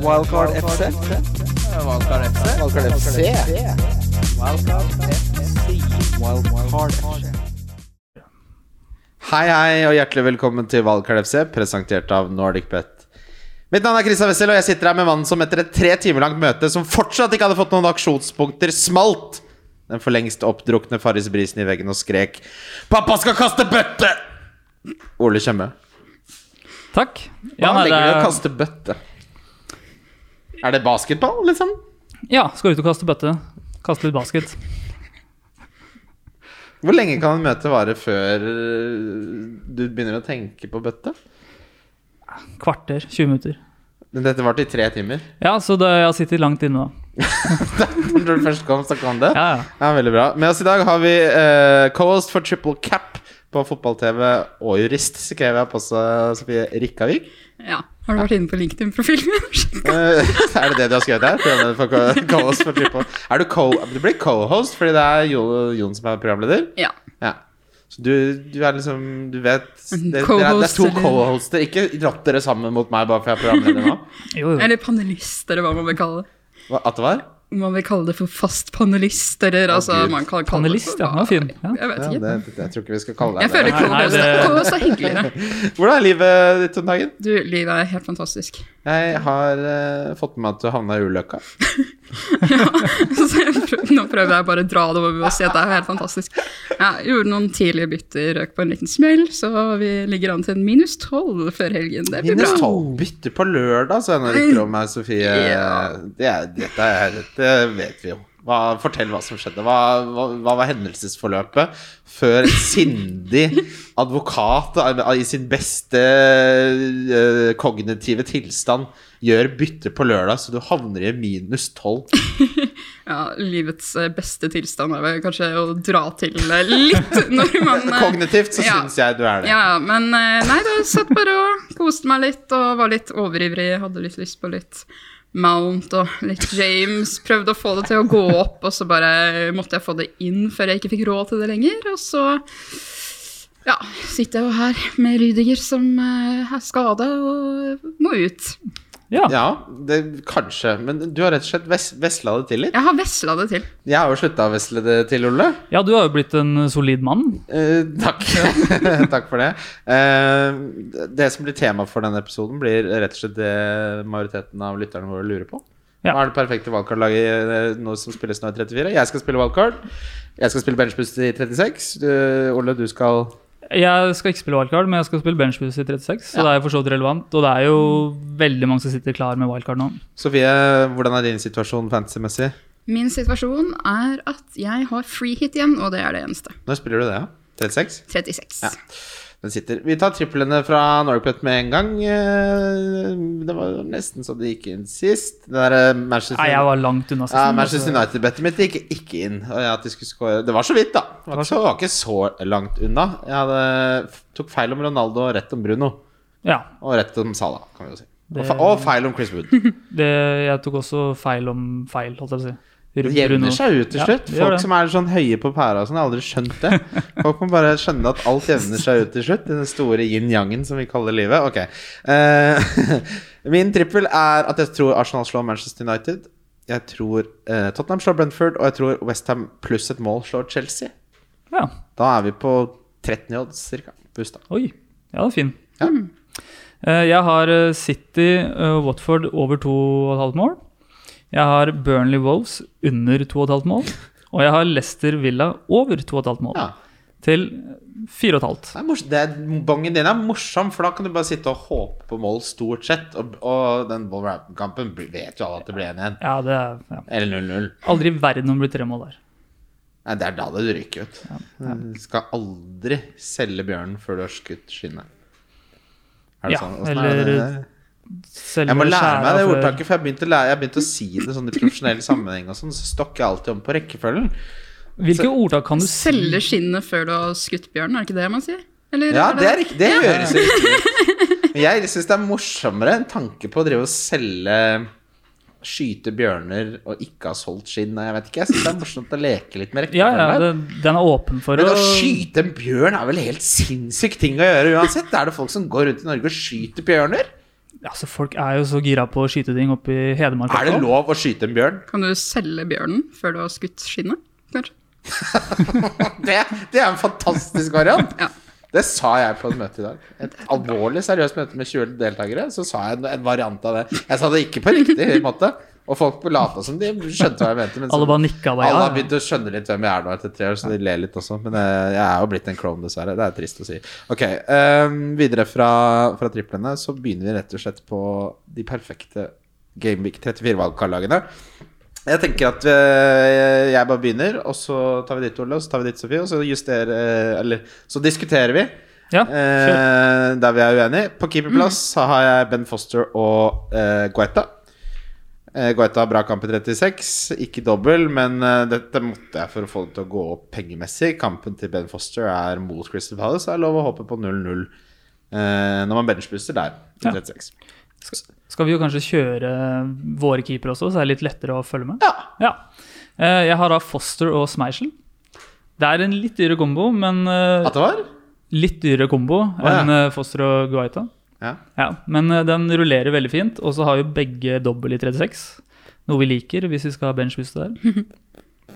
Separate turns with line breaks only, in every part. Wildcard FC.
Valgkar FC.
Wildcard FC. Wildcard FC.
Hei, hei, og hjertelig velkommen til Valgkart FC, presentert av NordicBet. Mitt navn er Kristian Wessel, og jeg sitter her med mannen som etter et tre timer langt møte, som fortsatt ikke hadde fått noen aksjonspunkter, smalt den for lengst oppdrukne Farris Brisen i veggen og skrek 'Pappa skal kaste bøtte!' Ole Tjøme.
Takk.
Hva
nei,
legger du i
det
å
er-
kaste bøtte? Er det basketball, liksom?
Ja, skal ut og kaste bøtte. Kaste litt basket.
Hvor lenge kan en møte vare før øh, du begynner å tenke på bøtte?
Kvarter, 20 minutter.
Men Dette varte i tre timer.
Ja, så det, jeg sitter langt inne da.
Når du først kom, så kom det.
Ja, ja.
Ja, veldig bra. Med oss i dag har vi eh, co-host for Triple Cap på fotball-TV og jurist, skrev jeg på seg Sofie Rikkavik.
Ja. Har du vært inne på LinkedIn-profilen min?
Eh, er det det du har skrevet her? Programleder for co- co-host for Triple Er du co Du blir co-host fordi det er jo Jon som er programleder?
ja.
Ja. Så du, du er liksom Du vet det, det, er, det er
Co-host,
to
Mm, eller-
co-hoster. Ikke dratt dere sammen mot meg bare fordi jeg er programleder nå.
Jo, jo.
Eller panelist, eller hva man vil kalle det.
Hva- At det var?
Man vil kalle det for fast panelist, eller altså
Gud.
man kan kalle
Panelist,
det
ja. Den var fin. Ja.
Jeg vet
Ja,
ikke.
det, det, jeg tror ikke vi skal kalle deg
Jeg
det.
føler
Nei, nei,
Kås
det-
Kås er hyggeligere.
Hvordan er livet ditt om dagen?
Du, livet er helt fantastisk.
Jeg har eh, fått med meg at du havna i ulykka.
Så jeg prøv, nå prøver jeg bare å dra det over med å si at det er helt fantastisk. Jeg gjorde noen tidlige bytter, røk på en liten smell, så vi ligger an til en minus tolv før helgen. Det blir bra.
Minus 12 bytter på lørdag, så henne rykter om meg, Sofie.
Ja.
Det, er, dette er, det vet vi jo. Hva, fortell hva som skjedde. Hva, hva, hva var hendelsesforløpet før en sindig advokat eh, i sin beste eh, kognitive tilstand gjør bytte på lørdag, så du havner i minus 12?
Ja, livets eh, beste tilstand er vel kanskje å dra til eh, litt når man eh,
Kognitivt så
ja.
syns jeg du er det.
Ja, men eh, nei, da satt bare og koste meg litt og var litt overivrig. Hadde litt lyst på litt Mount og litt James. Prøvde å få det til å gå opp, og så bare måtte jeg få det inn før jeg ikke fikk råd til det lenger. Og så ja, sitter jeg jo her med Rydiger som eh, er skada og må ut.
Ja.
Ja, det, kanskje. Men du har rett og slett ves, vesla det til litt.
Jeg har vesla det til.
Jeg har jo slutta å vesle det til, Olle.
ja, du har jo blitt en solid mann.
Eh, takk. takk for det. Eh, det som blir tema for denne episoden, blir rett og slett det majoriteten av lytterne våre lurer på.
Ja.
Hva er det perfekte valgkartlaget eh, nå som spilles nå i 34? Jeg skal spille valgkart. Jeg skal spille benchbust i 36. Du, Ole, du skal
Jeg skal ikke spille wildcard, men jeg skal spille benchboost i 36, så det er jo for så vidt relevant. Og det er jo veldig mange som sitter klar med wildcard nå.
Sofie, hvordan er din situasjon fantasy-messig?
Min situasjon er at jeg har free hit igjen, og det er det eneste.
Når spiller du det? Ja? 36?
36.
Ja. Den sitter. Vi tar triplene fra Norwegian med en gang. Eh, Det var nesten så det gikk inn sist. Det der eh, Manchester
Nei, jeg var langt unna
Ja,
sisten.
Manchester
altså.
United-bettet mitt gikk ikke inn. Og jeg, at de skulle score. Det var så vidt, da. Det var, ikke så, var ikke så langt unna. Jeg hadde, f- tok feil om Ronaldo og rett om Bruno.
Ja,
Og rett om Salah, kan vi jo si. Og,
Det-
fe- og feil om Chris Wood.
det, jeg tok også feil om feil, holdt jeg på å si.
Det
Ru- Bruno.
jevner seg ut til
Ja,
slutt.
det gjør
Folk
det.
som er sånn høye på pæra og sånn, har aldri skjønt det. Folk må bare skjønne at alt jevner seg ut til slutt. Den store yin-yangen som vi kaller livet. Ok. Eh, min trippel er at jeg tror Arsenal slår Manchester United. Jeg tror eh, Tottenham slår Brentford, og jeg tror Westham pluss et mål slår Chelsea.
Ja,
Da er vi på 13 i odds, cirka. Busta.
oi. Ja, det er fin.
Ja.
Eh, Jeg har eh, City eh, og Watford over 2,5 mål. Jeg har Burnley Wolves under 2,5 mål. Og jeg har Leicester Villa over 2,5 mål.
Ja.
Til 4,5.
Det er mors- det er- Bongen din er morsom, for da kan du bare sitte og håpe på mål stort sett. Og, og den Wolverhampton-kampen blir- vet jo alle at det blir 1-1.
Ja, det er ja.
Eller 0-0.
Aldri i verden om det blir tre mål der.
Nei, Det er da det ryker ut. Du skal aldri selge bjørnen før du har skutt skinnet. Er det
Ja,
sånn? Åssen er
eller-
det?
Selve
Jeg må lære
skjæra
meg det
for-
ordtaket, for jeg begynte å, lære, jeg begynte å si det sånn i profesjonell sammenheng, og sånn, så stokker jeg alltid om på rekkefølgen.
Hvilke ordtak kan du si?
Selge skinnet før du har skutt bjørnen, er det ikke det man sier? Eller
Ja, det er riktig. Det høres riktig ut. Men jeg syns det er morsommere en tanke på å drive og selge Skyte bjørner og ikke ha solgt skinn. og Jeg vet ikke, jeg syns det er morsomt å leke litt med
Ja, ja,
rekkefølgen. der.
det, den er åpen for
Men å
å
skyte en bjørn er vel helt sinnssykt ting å gjøre uansett? Er det folk som går rundt i Norge og skyter bjørner?
Altså, folk er jo så gira på å skyte ting oppe i Hedmark.
Er det
også.
lov å skyte en bjørn?
Kan du selge bjørnen før du har skutt skinnet? Kanskje?
Det, det er en fantastisk variant.
Ja.
Det sa jeg på et møte i dag. Et alvorlig seriøst møte med 20 deltakere. Så sa jeg en, en variant av det. Jeg sa det ikke på riktig måte. Og folk lata som de skjønte hva jeg mente. Men så,
Alle bare nikka. bare,
alle
ja,
har begynt å skjønne litt hvem jeg er nå etter tre år, så de ler litt også. Men eh, jeg er jo blitt en klovn, dessverre. Det er trist å si. Ok, eh, Videre fra, fra triplene så begynner vi rett og slett på de perfekte Gameweek 34-valgkarlagene. Jeg tenker at eh, jeg bare begynner, og så tar vi ditt, Ole, og så tar vi ditt, Sofie, og så justerer eh, Eller så diskuterer vi.
ja. kjør. Mm.
Eh, der vi er uenige. På keeperplass så har jeg Ben Foster og eh, Guaita. Eh, Guaita har bra kamp i 36, ikke dobbel, men eh, dette måtte jeg for å få det til å gå opp pengemessig. Kampen til Ben Foster er mot Crystal Palace, så er det lov å håpe på 0-0 eh, når man benchbooster der. i
Ja.
36
Skal vi jo kanskje kjøre våre keepere også, så er det litt lettere å følge med?
Ja.
Eh, Jeg har da Foster og Smeichel. Det er en litt dyrere kombo, men eh,
At det var?
litt dyrere kombo
ja.
enn eh, Foster og Guaita.
Ja.
Ja, men eh, den rullerer veldig fint, og så har jo begge dobbel i 36. Noe vi liker hvis vi skal ha benchboost der.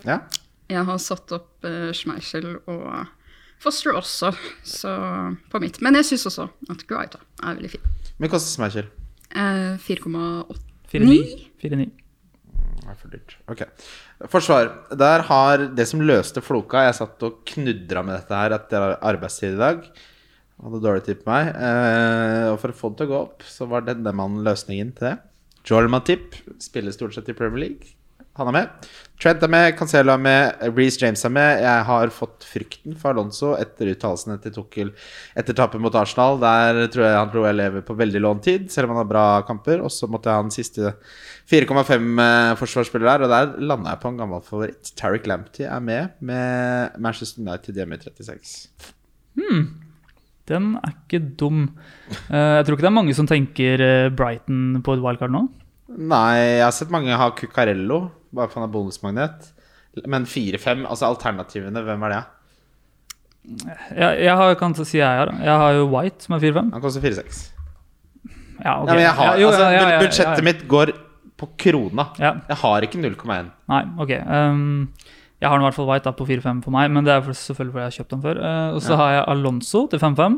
ja.
Jeg har satt opp eh, Schmeichel og Foster også, så på mitt. Men jeg syns også at Guaita er veldig fin.
Hvor mye koster Smeichel?
Eh, 4,8.
4-9. 4-9.
Det er for dyrt. Ok. Forsvar. Der har det som løste floka Jeg satt og knudra med dette her etter arbeidstid i dag. Hadde dårlig tid på meg. Eh, og for å få det til å gå opp, så var denne mannen løsningen til det. Joel Matip spiller stort sett i Premier League. Han er med. Trent er med, Cancelo er med, Reece James er med. Jeg har fått frykten for Alonso etter uttalelsene til Tukkel etter tapet mot Arsenal. Der tror jeg han tror jeg lever på veldig lånt tid, selv om han har bra kamper. Og så måtte jeg ha den siste 4,5-forsvarsspiller eh, der, og der landa jeg på en gammel favoritt. Tariq Lamptey er med med Manchester United hjemme i 36.
Den er ikke dum. Eh, Jeg tror ikke det er mange som tenker eh, Brighton på et wildcard nå.
Nei, jeg har sett mange ha Cuccarello, bare for han er bonusmagnet. Men 4-5, altså alternativene, hvem er det?
Jeg, jeg har, kan si jeg har, jeg har jo White, som er 4-5.
Han koster 4-6.
Ja, ok.
Nei, men jeg har,
Ja, jo,
altså,
ja, ja, ja, ja,
budsjettet
ja.
mitt går på krona.
Ja,
Jeg har ikke 0,1.
nei, ok. Um, jeg har den i hvert fall White da, på 4-5 for meg, men det er for, selvfølgelig fordi jeg har kjøpt den før. Eh, og så
Ja.
har jeg Alonso til 5-5.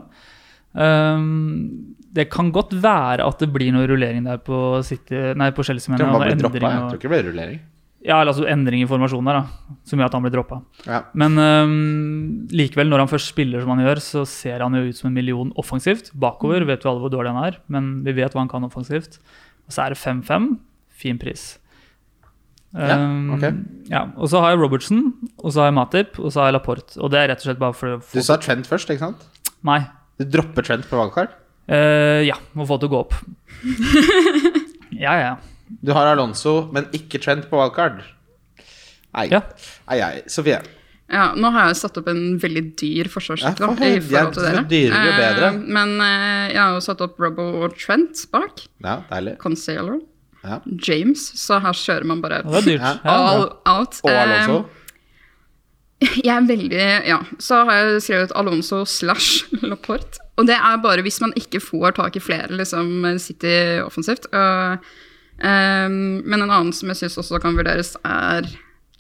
Um, det kan godt være at det blir noe rullering der på, City, nei, på
Jeg
Chelsea. mener
tror han
jeg,
bare
og
blir droppet,
endring
jeg.
og-
Tror ikke det blir rullering.
Ja, eller altså endring i formasjonen der, da, som gjør at han blir droppa.
Ja.
Men øhm, likevel, når han først spiller som han gjør, så ser han jo ut som en million offensivt. Bakover vet vi alle hvor dårlig han er, men vi vet hva han kan offensivt. Og så er det 5-5. Fin pris.
Ja,
Øhm,
ok.
ja, Og så har jeg Robertson, og så har jeg Matip, og så har jeg Laporte. Og det er rett og slett bare for å
Du
få
sa Trent først, ikke sant?
Nei.
Du dropper Trent på valgkart.
Eh, ja, må få det til å gå opp. ja, ja, ja.
Du har Alonso, men ikke Trent på valgkart. Nei.
Ja.
Nei, nei. Sofie.
Ja, nå har jeg satt opp en veldig dyr forsvarsrekke.
Ja, for
i
helvete,
forhold til dere.
jo dyrere, jo bedre.
Eh, men eh, jeg har jo satt opp Robbo og Trent bak.
Ja, deilig.
Concealer.
Ja.
James. Så her kjører man bare
Det er dyrt.
Ja.
Ja, ja.
all out.
Og
Eh,
Alonso.
Jeg er veldig Ja. Så har jeg skrevet Alonso slash Laporte. Og det er bare hvis man ikke får tak i flere, liksom City offensivt. Og, ehm, men en annen som jeg syns også kan vurderes, er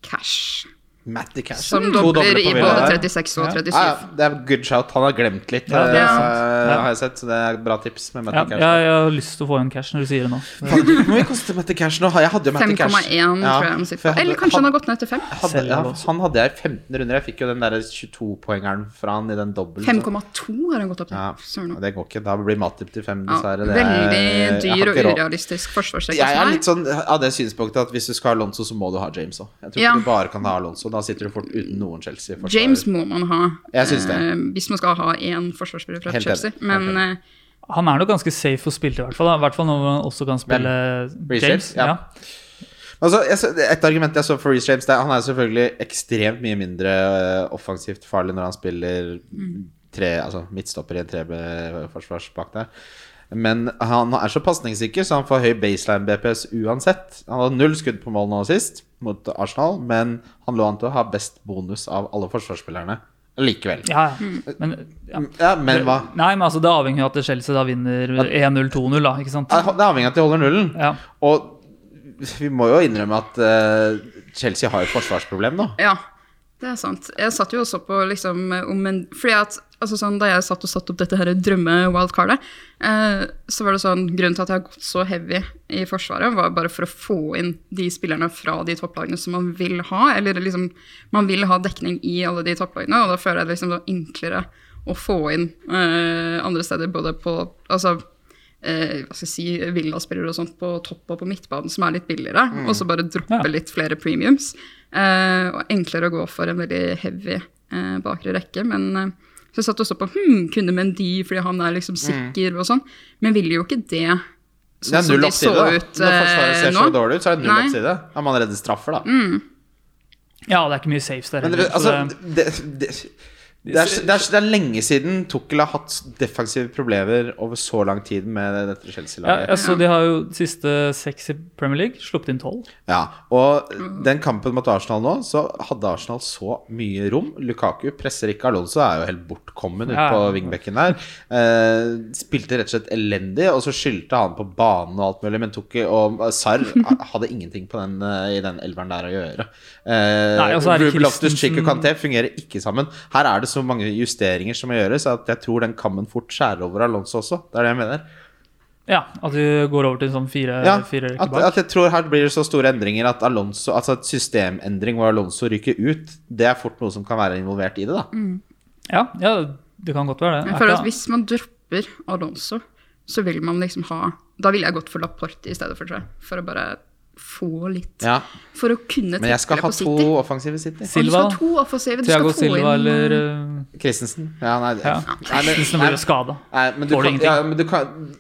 Cash.
Matty Cash.
Som
Mm. To
dobler i
Villa
både
der.
36 og
Ja.
37.
Ja, ja, det er good shout. Han har glemt litt,
Ja,
eh,
det er
sant.
har jeg sett. Så det er bra tips med Matty
Ja,
Cash.
jeg, jeg har lyst til å få igjen cash når du sier det nå.
Faen, Hvor mye koster Matty Cash nå? Jeg hadde jo Matty Cash.
5,1 tror jeg
for
han sitter
jeg
på.
hadde-
Eller kanskje han har gått ned til 5?
hadde, ja, Han hadde jeg i 15 runder. Jeg fikk jo den der 22-poengeren fra han i den dobbelt.
5,2 har han gått opp til.
Ja,
Søren
og
òg.
det går ikke. Da blir Matip til 5,
Ja,
dessverre. Det er-
veldig
jeg har
dyr og
ikke råd.
urealistisk forsvarsrekke.
Jeg
for
er
meg.
litt sånn av det synspunktet at hvis du skal ha Alonso, så må du ha James òg. Jeg tror
Ja.
ikke du bare kan ha Alonso. Da sitter du fort uten noen Chelsea-forsvarer.
James må man ha
Jeg synes det.
eh, hvis man skal ha én forsvarsspiller fra
Helt enig.
Chelsea. Men
Helt
eh,
Han er nok ganske safe å spille til, i hvert fall. da. I hvert fall når han også kan spille
Reece James?
James.
Ja.
Ja.
Altså, jeg, så- et argument jeg så for Reece James, det er han er selvfølgelig ekstremt mye mindre øh, offensivt farlig når han spiller
Mm.
tre, altså midtstopper i en treforsvars bak der. Men han er så pasningssikker, så han får høy baseline BPS uansett. Han hadde null skudd på mål nå sist, mot Arsenal, men han lå an til å ha best bonus av alle forsvarsspillerne likevel.
Ja,
Mm.
ja. Men, ja.
Ja, men hva?
Nei, men altså, det er avhengig av at Chelsea da vinner 1-0-2-0, da. Ikke sant?
Det er avhengig av at de holder nullen.
Ja.
Og vi må jo innrømme at eh, Chelsea har et forsvarsproblem nå.
eh, Ja, det er sant. Jeg satt jo også på liksom om en Fordi at altså sånn, da jeg satt og satte opp dette her drømme-wildcardet, eh, så var det sånn Grunnen til at jeg har gått så heavy i Forsvaret, var bare for å få inn de spillerne fra de topplagene som man vil ha. Eller liksom Man vil ha dekning i alle de topplagene, og da føler jeg det liksom det var enklere å få inn eh, andre steder, både på Altså eh, hva skal jeg si, villaspillere og sånt på topp og på midtbanen som er litt billigere,
Mm.
og så bare droppe
Ja.
litt flere premiums. Eh, og enklere å gå for en veldig heavy eh, bakre rekke, men eh, så jeg satt også på hmm, kunne Mendy fordi han er liksom sikker og sånn, men ville jo ikke det
Mm. Det
sånn
er
som
null
de så
oppside. da.
ut
Når Forsvaret
eh,
ser
nå.
så dårlig ut, så er det null
Nei. Mm.
oppside. Da må man redde straffer, da.
ja, det er ikke mye saves der
Men
heller.
det, altså,
så det-
det, det, det, er, det, er, det er lenge siden Tukkel har hatt defensive problemer over så lang tid med dette
ja,
Chelsea-laget.
altså, de har jo siste seks i Premier League sluppet inn tolv.
Ja, og den kampen mot Arsenal nå, så hadde Arsenal så mye rom. Lukaku presser ikke. Alonso er jo helt bortkommen ute
Ja,
på
ja.
vingbekken der. Eh, spilte rett og slett elendig, og så skyldte han på banen og alt mulig, men Tukki og Sarr hadde ingenting på den, eh, i den elveren der å gjøre. Eh,
Nei, og så er det
Ruben Loftus-Cheek og
Christensen-
Kanté fungerer ikke sammen. Her er det så mange justeringer som må gjøres, at jeg tror den kammen fort skjærer over Alonso også. Det er det jeg mener.
Ja, at de går over til sånn fire,
Ja,
fire rekker
at,
bak.
at jeg tror her blir det så store endringer at Alonso, altså at systemendring hvor Alonso ryker ut, det er fort noe som kan være involvert i det, da.
Mm.
Ja, ja, det kan godt være det.
Jeg
Er
føler
ikke-
at hvis man dropper Alonso, så vil man liksom ha Da ville jeg gått for Laporte i stedet for, tror jeg. For å bare få litt
Ja,
For å kunne
men jeg skal ha
tekle på
to
City.
offensive City.
Og Du
Silva,
skal ha to offensive. Du skal
Thiago
få
Silva
inn eh,
eller eh,
Christensen. Ja, nei, det-
Ja.
nei, men-
Christensen blir jo skada.
nei, men du
Får du
kan,
ingenting?
ja, men du kan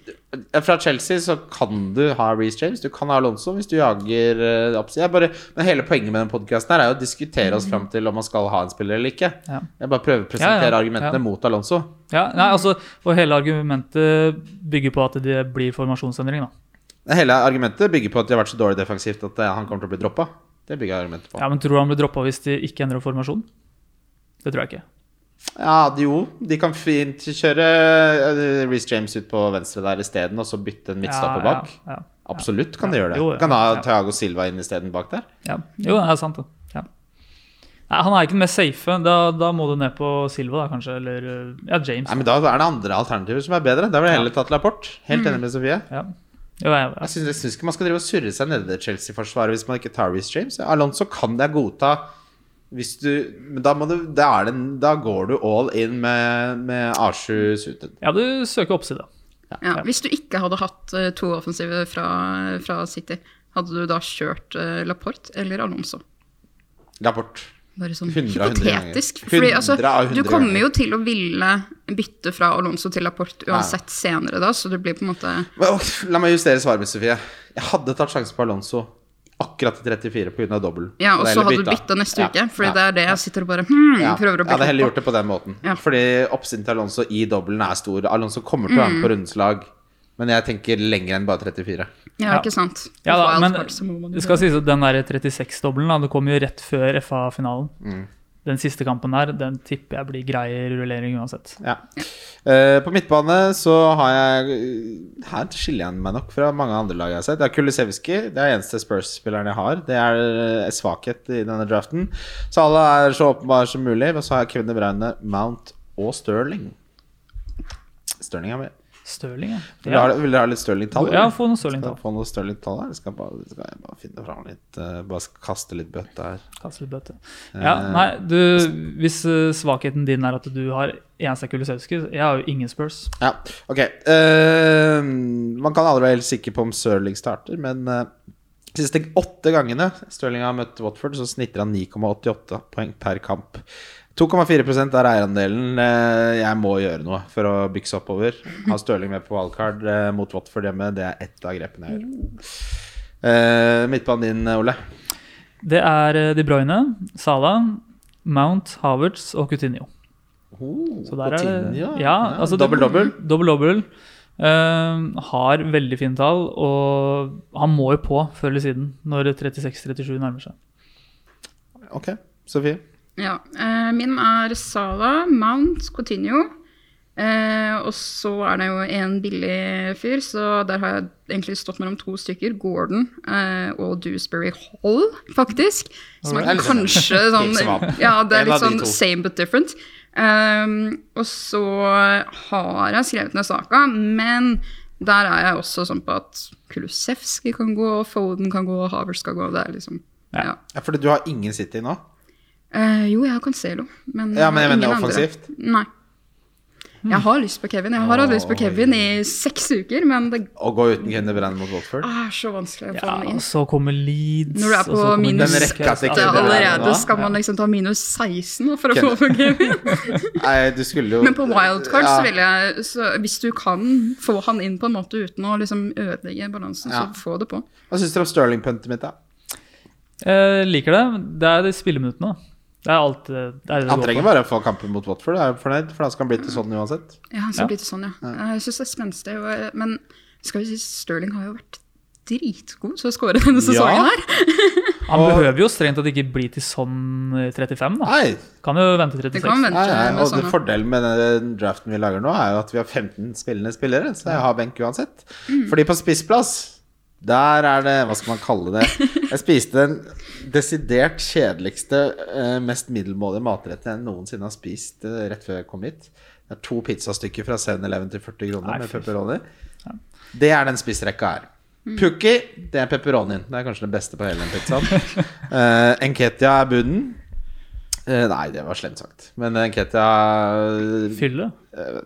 ja, Fra Chelsea så kan du ha Reece James, du kan ha Alonso hvis du jager eh, opp. Jeg bare, men hele poenget med denne podkasten er jo å diskutere oss fram til om man skal ha en spiller eller ikke.
Mm. Ja.
Jeg bare prøver å
Ja,
presentere
ja,
argumentene
ja.
mot Alonso.
Ja, nei,
Mm.
altså, og hele argumentet bygger på at det blir formasjonsendring, da.
Hele argumentet bygger på at de har vært så dårlig defensivt at eh, han kommer til å bli droppa. Det bygger argumentet på. Ja,
Ja, Men tror du han blir droppa hvis de ikke endrer formasjon? Det tror jeg ikke.
de, jo, de kan fint kjøre eh, Reece James ut på venstre der isteden, og så bytte en midtstopper
Ja,
bak.
Ja,
Absolutt kan de
Ja,
gjøre det.
jo, ja,
Kan ha
ja.
Thiago Silva inn isteden bak der.
ja, ja. Jo, det er sant, det. Ja. Nei, han er ikke den mest safe. Da, da må du ned på Silva, da, kanskje. Eller ja, James.
Nei, men Da er det andre alternativer som er bedre. Da vil jeg heller ta til rapport. Helt
Mm.
enig med Sofie.
Ja. Jo, jeg,
Jeg syns jeg syns ikke man skal drive og surre seg nede i Chelsea-forsvaret hvis man ikke tar Reece James. Alonso kan jeg godta hvis du Men da, må du, da, er det, en- da går du all in med, med Arsu Suten.
ja, du søker oppside.
ja, Hvis du ikke hadde hatt eh, to offensive fra, fra City, hadde du da kjørt eh, Laporte eller Alonso?
Rapport.
Bare sånn
100 av 100 ganger.
hypotetisk.
100
Fordi altså,
av 100
du kommer
ganger.
jo til å ville bytte fra Alonso til Laporte uansett senere, da, så det blir på en måte
Men, ok, La meg justere svaret mitt, Sofie. Jeg hadde tatt sjansen på Alonso akkurat til 34 pga. dobbel.
Ja, og
Det er
så
heller
hadde du bytta neste uke, fordi det er det jeg sitter og bare hmm,
ja.
prøver å
Jeg hadde
bygge
heller
opp
gjort det på den måten.
Ja.
Fordi oppsiden til Alonso i dobbelen er stor. Alonso kommer til å være med
Mm.
på rundens lag, men jeg tenker lenger enn bare 34.
på. Ja,
Ja.
ikke sant.
Ja da,
Wild
men
card, så må man jo
det skal sies at den der 36-dobbelen da, det kom jo rett før FA-finalen.
Mm.
Den siste kampen der, den tipper jeg blir grei rullering uansett.
Ja. Eh, på midtbane så har jeg Her skiller jeg meg nok fra mange andre lag jeg har sett. Det er Kulisevski. Det er eneste Spurs-spilleren jeg har. Det er eh, svakhet i denne draften. Så alle er så åpenbare som mulig. Og så har jeg Kevin De Bruyne, Mount og Sterling. Sterling er med.
Stirling, ja.
Vil dere ha, vil dere ha litt Stirling-tall?
Ja,
eller?
få noen Stirling-tall.
Skal jeg Få noen Stirling-tall her. Skal jeg bare, skal jeg bare finne fram litt eh, Bare sk- kaste litt bøtte her.
Kaste litt bøtte.
Eh.
Ja, nei, du, hvis eh, svakheten din er at du har eneste Kulisevskij Jeg har jo ingen Spurs.
Ja, ok. Eh, man kan aldri være helt sikker på om Stirling starter, men eh, de siste åtte gangene Stirling har møtt Watford, så snitter han 9,88 poeng per kamp. 2,4 er eierandelen. Eh, jeg må gjøre noe for å bykse oppover. Ha Stirling med på wildcard eh, mot Watford hjemme, det er ett av grepene jeg gjør. Eh, midtbanen din, Ole.
Det er eh, De Bruyne, Salah, Mount, Havertz og Coutinho. Så der er det
Coutinho,
ja, altså det-
Dobbel-dobbel.
Dobbel-dobbel. Eh, har veldig fine tall, og han må jo på før eller siden når 36-37 nærmer seg.
Ok, Sofie.
Ja. eh, min er Sala, Mount, Coutinho. Eh, og så er det jo en billig fyr, så der har jeg egentlig stått mellom to stykker. Gordon eh, og Dewsbury Hall, faktisk. Som
Det er
er
litt
kanskje sånn
Gikk som opp.
Ja, det er
En av
litt
de
sånn
to.
same but different. Um, og så har jeg skrevet ned saka, men der er jeg også sånn på at Kulusevski kan gå, Foden kan gå, Havers skal gå. Det er liksom
Ja.
ja.
Ja, fordi du har ingen City nå?
Eh, jo, jeg har Cancelo, men eh,
Ja, men jeg
ingen
mener
andre.
offensivt.
Nei. Jeg har lyst på Kevin. Jeg har hatt lyst på
Oi.
Kevin i seks uker, men det
Å gå uten Kevin De Bruyne mot Watford?
er så vanskelig å få
Ja, altså, og
ham inn.
så kommer Leeds
Når du er
og så
på
kommer
minus-
Den rekka til
Ja,
Kevin er
allerede
bra.
skal man liksom ta minus 16 nå for å få på Kevin.
Nei, du skulle jo
Men på wildcard
Ja.
så vil jeg så Hvis du kan få han inn på en måte uten å liksom ødelegge balansen,
Ja.
så få det på.
Hva syns dere om Sterling-puntet mitt, da?
Eh, liker det. Det er de spilleminuttene. Det er alt eh, det er det det
Han
går
trenger
på.
bare å få kampen mot Watford, jeg er fornøyd, for da skal han bli til sånn uansett.
Ja, han skal
Ja.
bli til sånn, ja. Jeg syns det er spenstig. og- eh, Men skal vi si Sterling har jo vært dritgod til å skåre denne sesongen her.
Han
Og-
behøver jo strengt tatt ikke bli til sånn eh, 35, da.
Nei,
Kan jo vente
Ah. Det kan
36.
vente
nei, nei.
med
Og det
sånne.
fordelen med den draften vi lager nå, er jo at vi har 15 spillende spillere, så jeg har benk uansett.
Mm.
Fordi på spissplass, der er det Hva skal man kalle det? Jeg spiste den desidert kjedeligste, eh, mest middelmådige matretten jeg noensinne har spist eh, rett før jeg kom hit. Det er to pizzastykker fra 7-Eleven til 40 kroner
Nei,
med
fy
pepperoni. Det er den spissrekka her.
Mm.
Pukki, det er pepperonien. Det er kanskje det beste på hele den pizzaen. Eh, Enketia er bunnen. Eh, nei, det var slemt sagt. Men Enketia eh,
Fylle.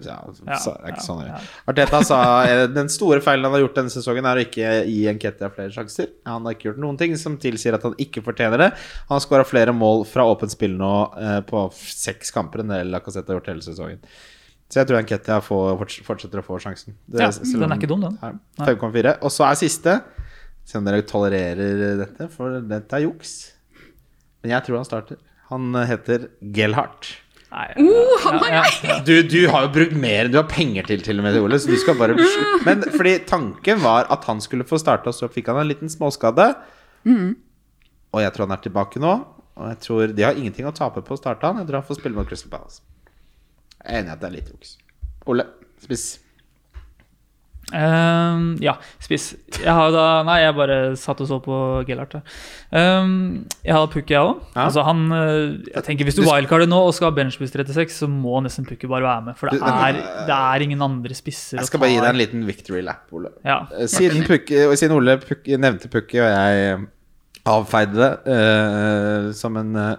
ja,
Ja,
sa, det er ikke
ja,
sånn det
ja.
er. Arteta sa eh, den store feilen han har gjort denne sesongen, er å ikke gi Enketia flere sjanser. Han har ikke gjort noen ting som tilsier at han ikke fortjener det. Han har skåra flere mål fra åpent spill nå eh, på f- seks kamper enn det Lacassette har gjort hele sesongen. Så jeg tror Enketia får, forts- fortsetter å få sjansen. Det-
Ja,
selv
den
om-
er ikke dum, den.
Nei, 5,4. Og så er siste Se om dere tolererer dette, for dette er juks. Men jeg tror han starter. Han eh, heter Gelhardt.
Nei,
Oh, han har
ja, ja.
Du, du har jo brukt mer enn du har penger til, til og med, Ole. Så du skal bare Men fordi tanken var at han skulle få starte, og så fikk han en liten småskade. Mm. Og jeg tror han er tilbake nå. Og jeg tror de har ingenting å tape på å starte han. Jeg tror han får spille mot Crystal Palace. Jeg er enig i at det er litt juks. Ole, spiss.
Ehm, ja, spiss. Jeg har jo da Nei, jeg bare satt og så på Gellert. Um, jeg har Pukki, jeg òg.
Ja.
Altså, han eh, Jeg tenker Hvis du
Du-
wildcarder nå og skal ha benchboost 36, så må nesten Pukki bare være med. For det
Du- men-
er, det er ingen andre spisser
Jeg skal bare gi deg en liten victory lap, Ole.
Ja.
Eh, Siden, Pukki, og siden Ole Pukki, nevnte Pukki, og jeg eh, avfeide det eh, som en eh,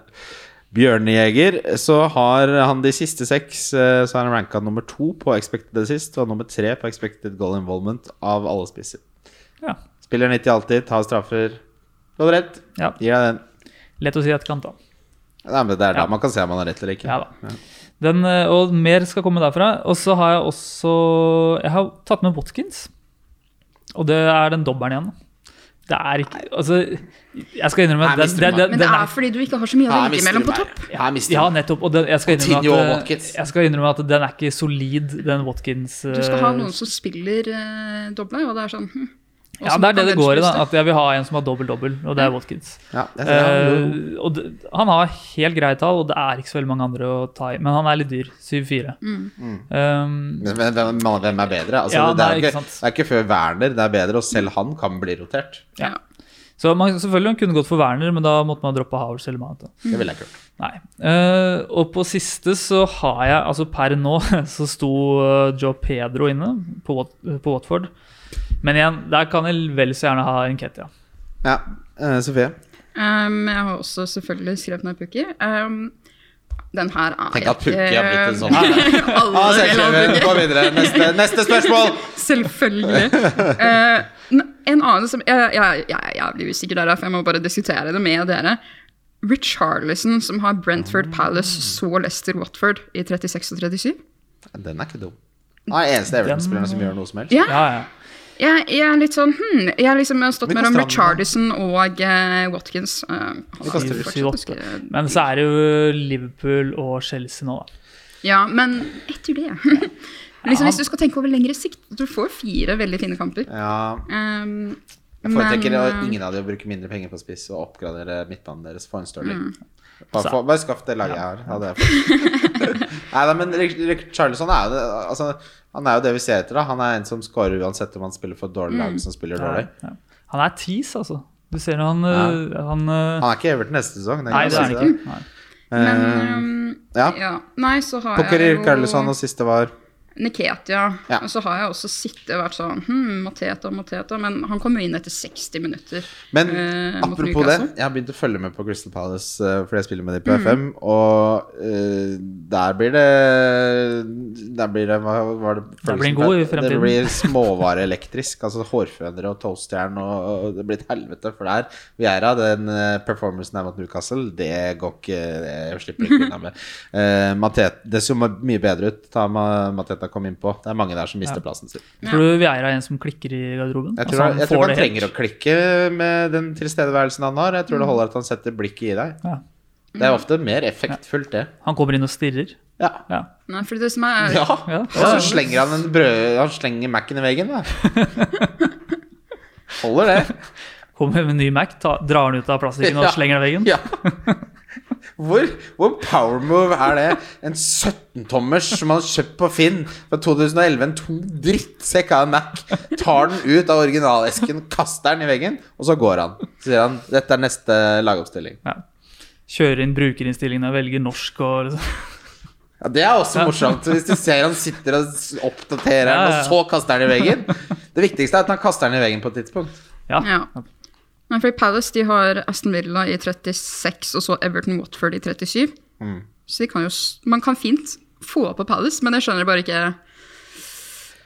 bjørnejeger, så har han de siste seks eh, Så har han ranka nummer to på expected assist og nummer tre på expected goal involvement av alle spisser.
Ja.
Spiller 90 alltid, tar straffer. Lå det rett?
Ja.
Gir deg den.
Lett å si i etterkant, da.
Nei, men det er da
Ja.
man kan se om han har rett eller ikke.
Ja da. Den, eh, og mer skal komme derfra. Og så har jeg også Jeg har tatt med Watkins. Og det er den dobbelen igjen. Det er ikke Altså, jeg skal innrømme
Nei,
at den,
mister du
den,
meg.
den,
Men det er fordi du ikke har så mye å
Her
velge
mister du
mellom på
meg.
topp.
Her mister
Ja,
du meg.
nettopp. Og den, jeg, skal
Coutinho og
innrømme at,
Watkins.
jeg skal innrømme at den er ikke solid, den Watkins.
Du skal ha
eh,
noen som spiller eh, doble, og det er sånn hm. Og
Ja,
som
det er det
kan
det går i. da
benchbuste.
At jeg vil ha en som har dobbel-dobbel, og det er Watkins.
Ja, jeg ser det.
Eh, og det, han har helt greie tall, og det er ikke så veldig mange andre å ta i. Men han er litt dyr. 7-4.
Mm.
Mm.
Um,
Men men hvem, men hvem er bedre? Altså,
Ja,
det, er ikke,
nei, ikke sant.
det er ikke før Werner det er bedre, og selv han kan bli rotert.
ja. Så man, selvfølgelig han kunne gått for Werner, men da måtte man droppe Havels eller Mount. da.
Det ville jeg ikke gjort.
Nei. Eh, og på siste så har jeg Altså per nå så sto eh, Joe Pedro inne på, Wat- på Watford. Men igjen, der kan jeg vel så gjerne ha en Ketia.
Ja, eh, Sofie.
Um, jeg har også selvfølgelig skrevet ned Pukki. Um, den her er
Tenk at Pukki har blitt en sånn.
Alle
Ah,
vil ha
selvskreven.
Pukki.
Gå videre. Neste, neste spørsmål!
Selvfølgelig. Eh, n- en annen som jeg, jeg, jeg er jævlig usikker der, for jeg må bare diskutere det med dere. Richarlison, som har Brentford Palace,
Mm.
så Leicester Watford i 36 og 37.
Den er ikke dum. Han er eneste Everton-spilleren som gjør noe som helst.
Ja,
Ja, ja.
jeg, jeg er litt sånn hmm, Jeg er liksom jeg har stått
Vi kan stramme.
mellom Richarlison og eh, Watkins. Eh, han er
kaster
fortsatt
Syv, åtte.
ikke-
Men så er det jo Liverpool og Chelsea nå, da.
Ja, men etter det liksom, Hvis du skal tenke over lengre sikt Du får fire veldig fine kamper.
Ja,
Um,
Jeg foretrekker
Men,
å-
eh,
ingen av de å bruke mindre penger på å spise og oppgradere midtbanen deres for en Stirling. Bare, få- bare skaff det laget jeg har. Ja, det er fint. Nei da, men Rick- Rick Charlison er jo det altså, Han er jo det vi ser etter. da Han er en som scorer uansett om han spiller for et dårlig lag som spiller dårlig.
Ja. Han er tis, altså. Du ser når han, øh, han, øh,
Han er ikke Everton neste sesong. det
Nei,
kan
det er
jeg
han
si
ikke. Nei.
Men
Eh,
ehm,
ja.
ja. Nei, så har
Pokerir
jeg jo
Carlison, og siste var
Niketia.
Ja.
Og så har jeg også sittet og vært sånn hm, Mateta, Mateta. Men han kom jo inn etter 60 minutter.
Men
eh, mot
apropos det,
Newcastle. Mm.
jeg har begynt å følge med på Crystal Palace eh, fordi jeg spiller med dem på FM, og eh, der blir det Der blir det Hva var det
Der blir
følelsen
den god i
ble? Det
fremtiden.
blir småvareelektrisk. altså hårfønere og toastjern, og, og det blir et helvete. For der vi er av den eh, performancen her mot Newcastle, det går ikke Det slipper ikke unna med. Eh, Matet, det så mye bedre ut da Ma- Mateta kom innpå. Det er mange der som mister plassen sin.
Tror du Vieira er en som klikker i garderoben?
Jeg
Altså,
tror, han, jeg tror
får
han
det helt.
trenger å klikke med den tilstedeværelsen han har. Jeg tror det holder at han setter blikket i deg.
Ja.
Det er
Mm.
ofte mer effektfullt, det.
Han kommer inn og stirrer.
Ja.
Ja.
Nei, for det som er
ja.
Ja.
Og så slenger han en brød Han slenger Mac-en i veggen, da. Holder det.
Kommer med en ny Mac, ta, drar den ut av plastikken og
Ja.
slenger den i veggen.
Ja. Hvor, hvor power move er det? En 17-tommers som han har kjøpt på Finn fra 2011. En tung drittsekk av en Mac. Tar den ut av originalesken, kaster den i veggen, og så går han. Så sier han dette er neste lagoppstilling.
Ja. Kjører inn brukerinnstillingene, velger norsk og liksom.
Ja, Det er også morsomt. Hvis du ser han sitter og s- oppdaterer den, og så kaster han i veggen. Det viktigste er at han kaster den i veggen på et tidspunkt.
Ja.
Ja. Nei, fordi Palace de har Aston Villa i 36 og så Everton Watford i 37.
Mm.
Så de kan jo, s- man kan fint få på Palace, men jeg skjønner bare ikke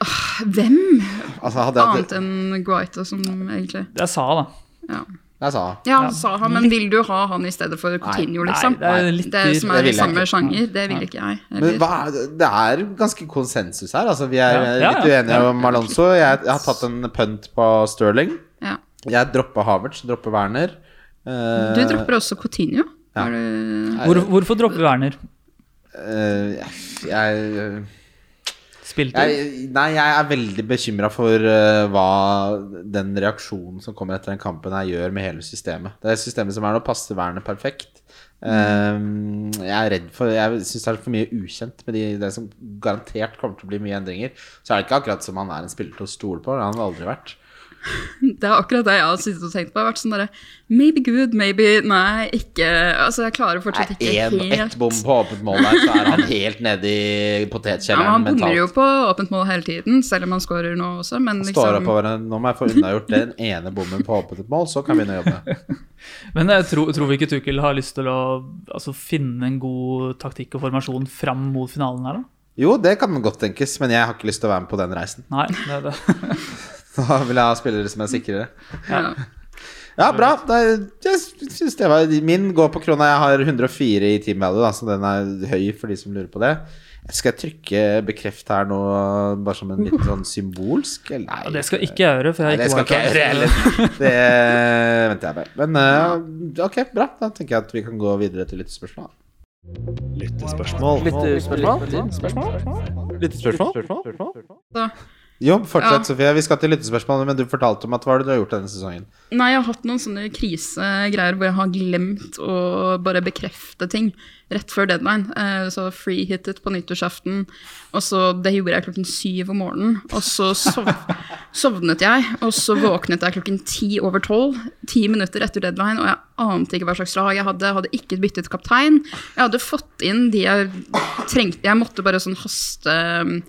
Åh, Hvem
Altså, hadde jeg
annet
hatt
enn Guaita som egentlig
Det er Sa, da.
Ja,
Jeg sa
ja han sa han, men vil du ha han i stedet for Coutinho, liksom?
Nei, det er litt
det som er
Det vil
i
jeg
samme
ikke. Mm.
sjanger, det vil ikke jeg.
men
heller.
hva er, det- det er ganske konsensus her. Altså, vi er
Ja, ja,
litt
ja.
uenige om Alonso. Jeg, jeg har tatt en punt på Sterling.
Ja.
Jeg dropper Havertz, dropper Werner. Eh,
Du dropper også Coutinho?
Ja.
Har du
Hvor, hvorfor dropper Werner?
eh, jeg, jeg,
Spilte
jeg, nei, jeg er veldig bekymra for eh, hva den reaksjonen som kommer etter den kampen her, gjør med hele systemet. Det systemet som er nå, passer vernet perfekt. Ehm, jeg er redd for Jeg syns det er for mye ukjent med de, det som garantert kommer til å bli mye endringer. Så er det ikke akkurat som han er en spiller til å stole på. Det har han aldri vært.
Det er akkurat det jeg har sittet og tenkt på. Jeg har vært sånn derre Maybe good, maybe Nei, ikke Altså, jeg klarer fortsatt ikke
En, ett
helt
bom på åpent mål der, så er han helt nede i
ja, men
potetkjelleren
Han bommer jo
mentalt.
på åpent mål hele tiden, selv om han scorer nå også, men
Står
liksom
opp over en, Nå må jeg få unnagjort den ene bommen på åpent mål, så kan vi begynne å jobbe.
Men jeg tror, tror vi ikke Tuchel har lyst til å altså, finne en god taktikk og formasjon fram mot finalen her, da?
Jo, det kan godt tenkes, men jeg har ikke lyst til å være med på den reisen.
Nei, det er det.
Da vil jeg ha spillere som er sikrere.
ja.
Ja, bra. Da, jeg synes det var Min går på krona. Jeg har 104 i team value, da, så den er høy for de som lurer på det. Skal jeg trykke 'bekreft' her nå, bare som en litt sånn symbolsk? Eller
Ja,
Nei.
det skal ikke jeg gjøre, for
Nei,
jeg
det
har
skal
ikke
ikke jeg gjøre
wildcard.
heller. Det venter jeg med. Men eh, ok, bra. Da tenker jeg at vi kan gå videre til lyttespørsmål.
Lyttespørsmål?
Så,
Jo, fortsett,
Ja.
Sofie. Vi skal til lyttespørsmål, men du fortalte om at hva er det du har gjort denne sesongen?
Nei, jeg har hatt noen sånne krisegreier hvor jeg har glemt å bare bekrefte ting rett før deadline. Eh, Så freehittet på nyttårsaften, og så Det gjorde jeg klokken syv om morgenen. Og så sov sovnet jeg, og så våknet jeg klokken ti over tolv. Ti minutter etter deadline, og jeg ante ikke hva slags lag jeg hadde. Jeg hadde ikke byttet kaptein. Jeg hadde fått inn de jeg trengte. Jeg måtte bare sånn haste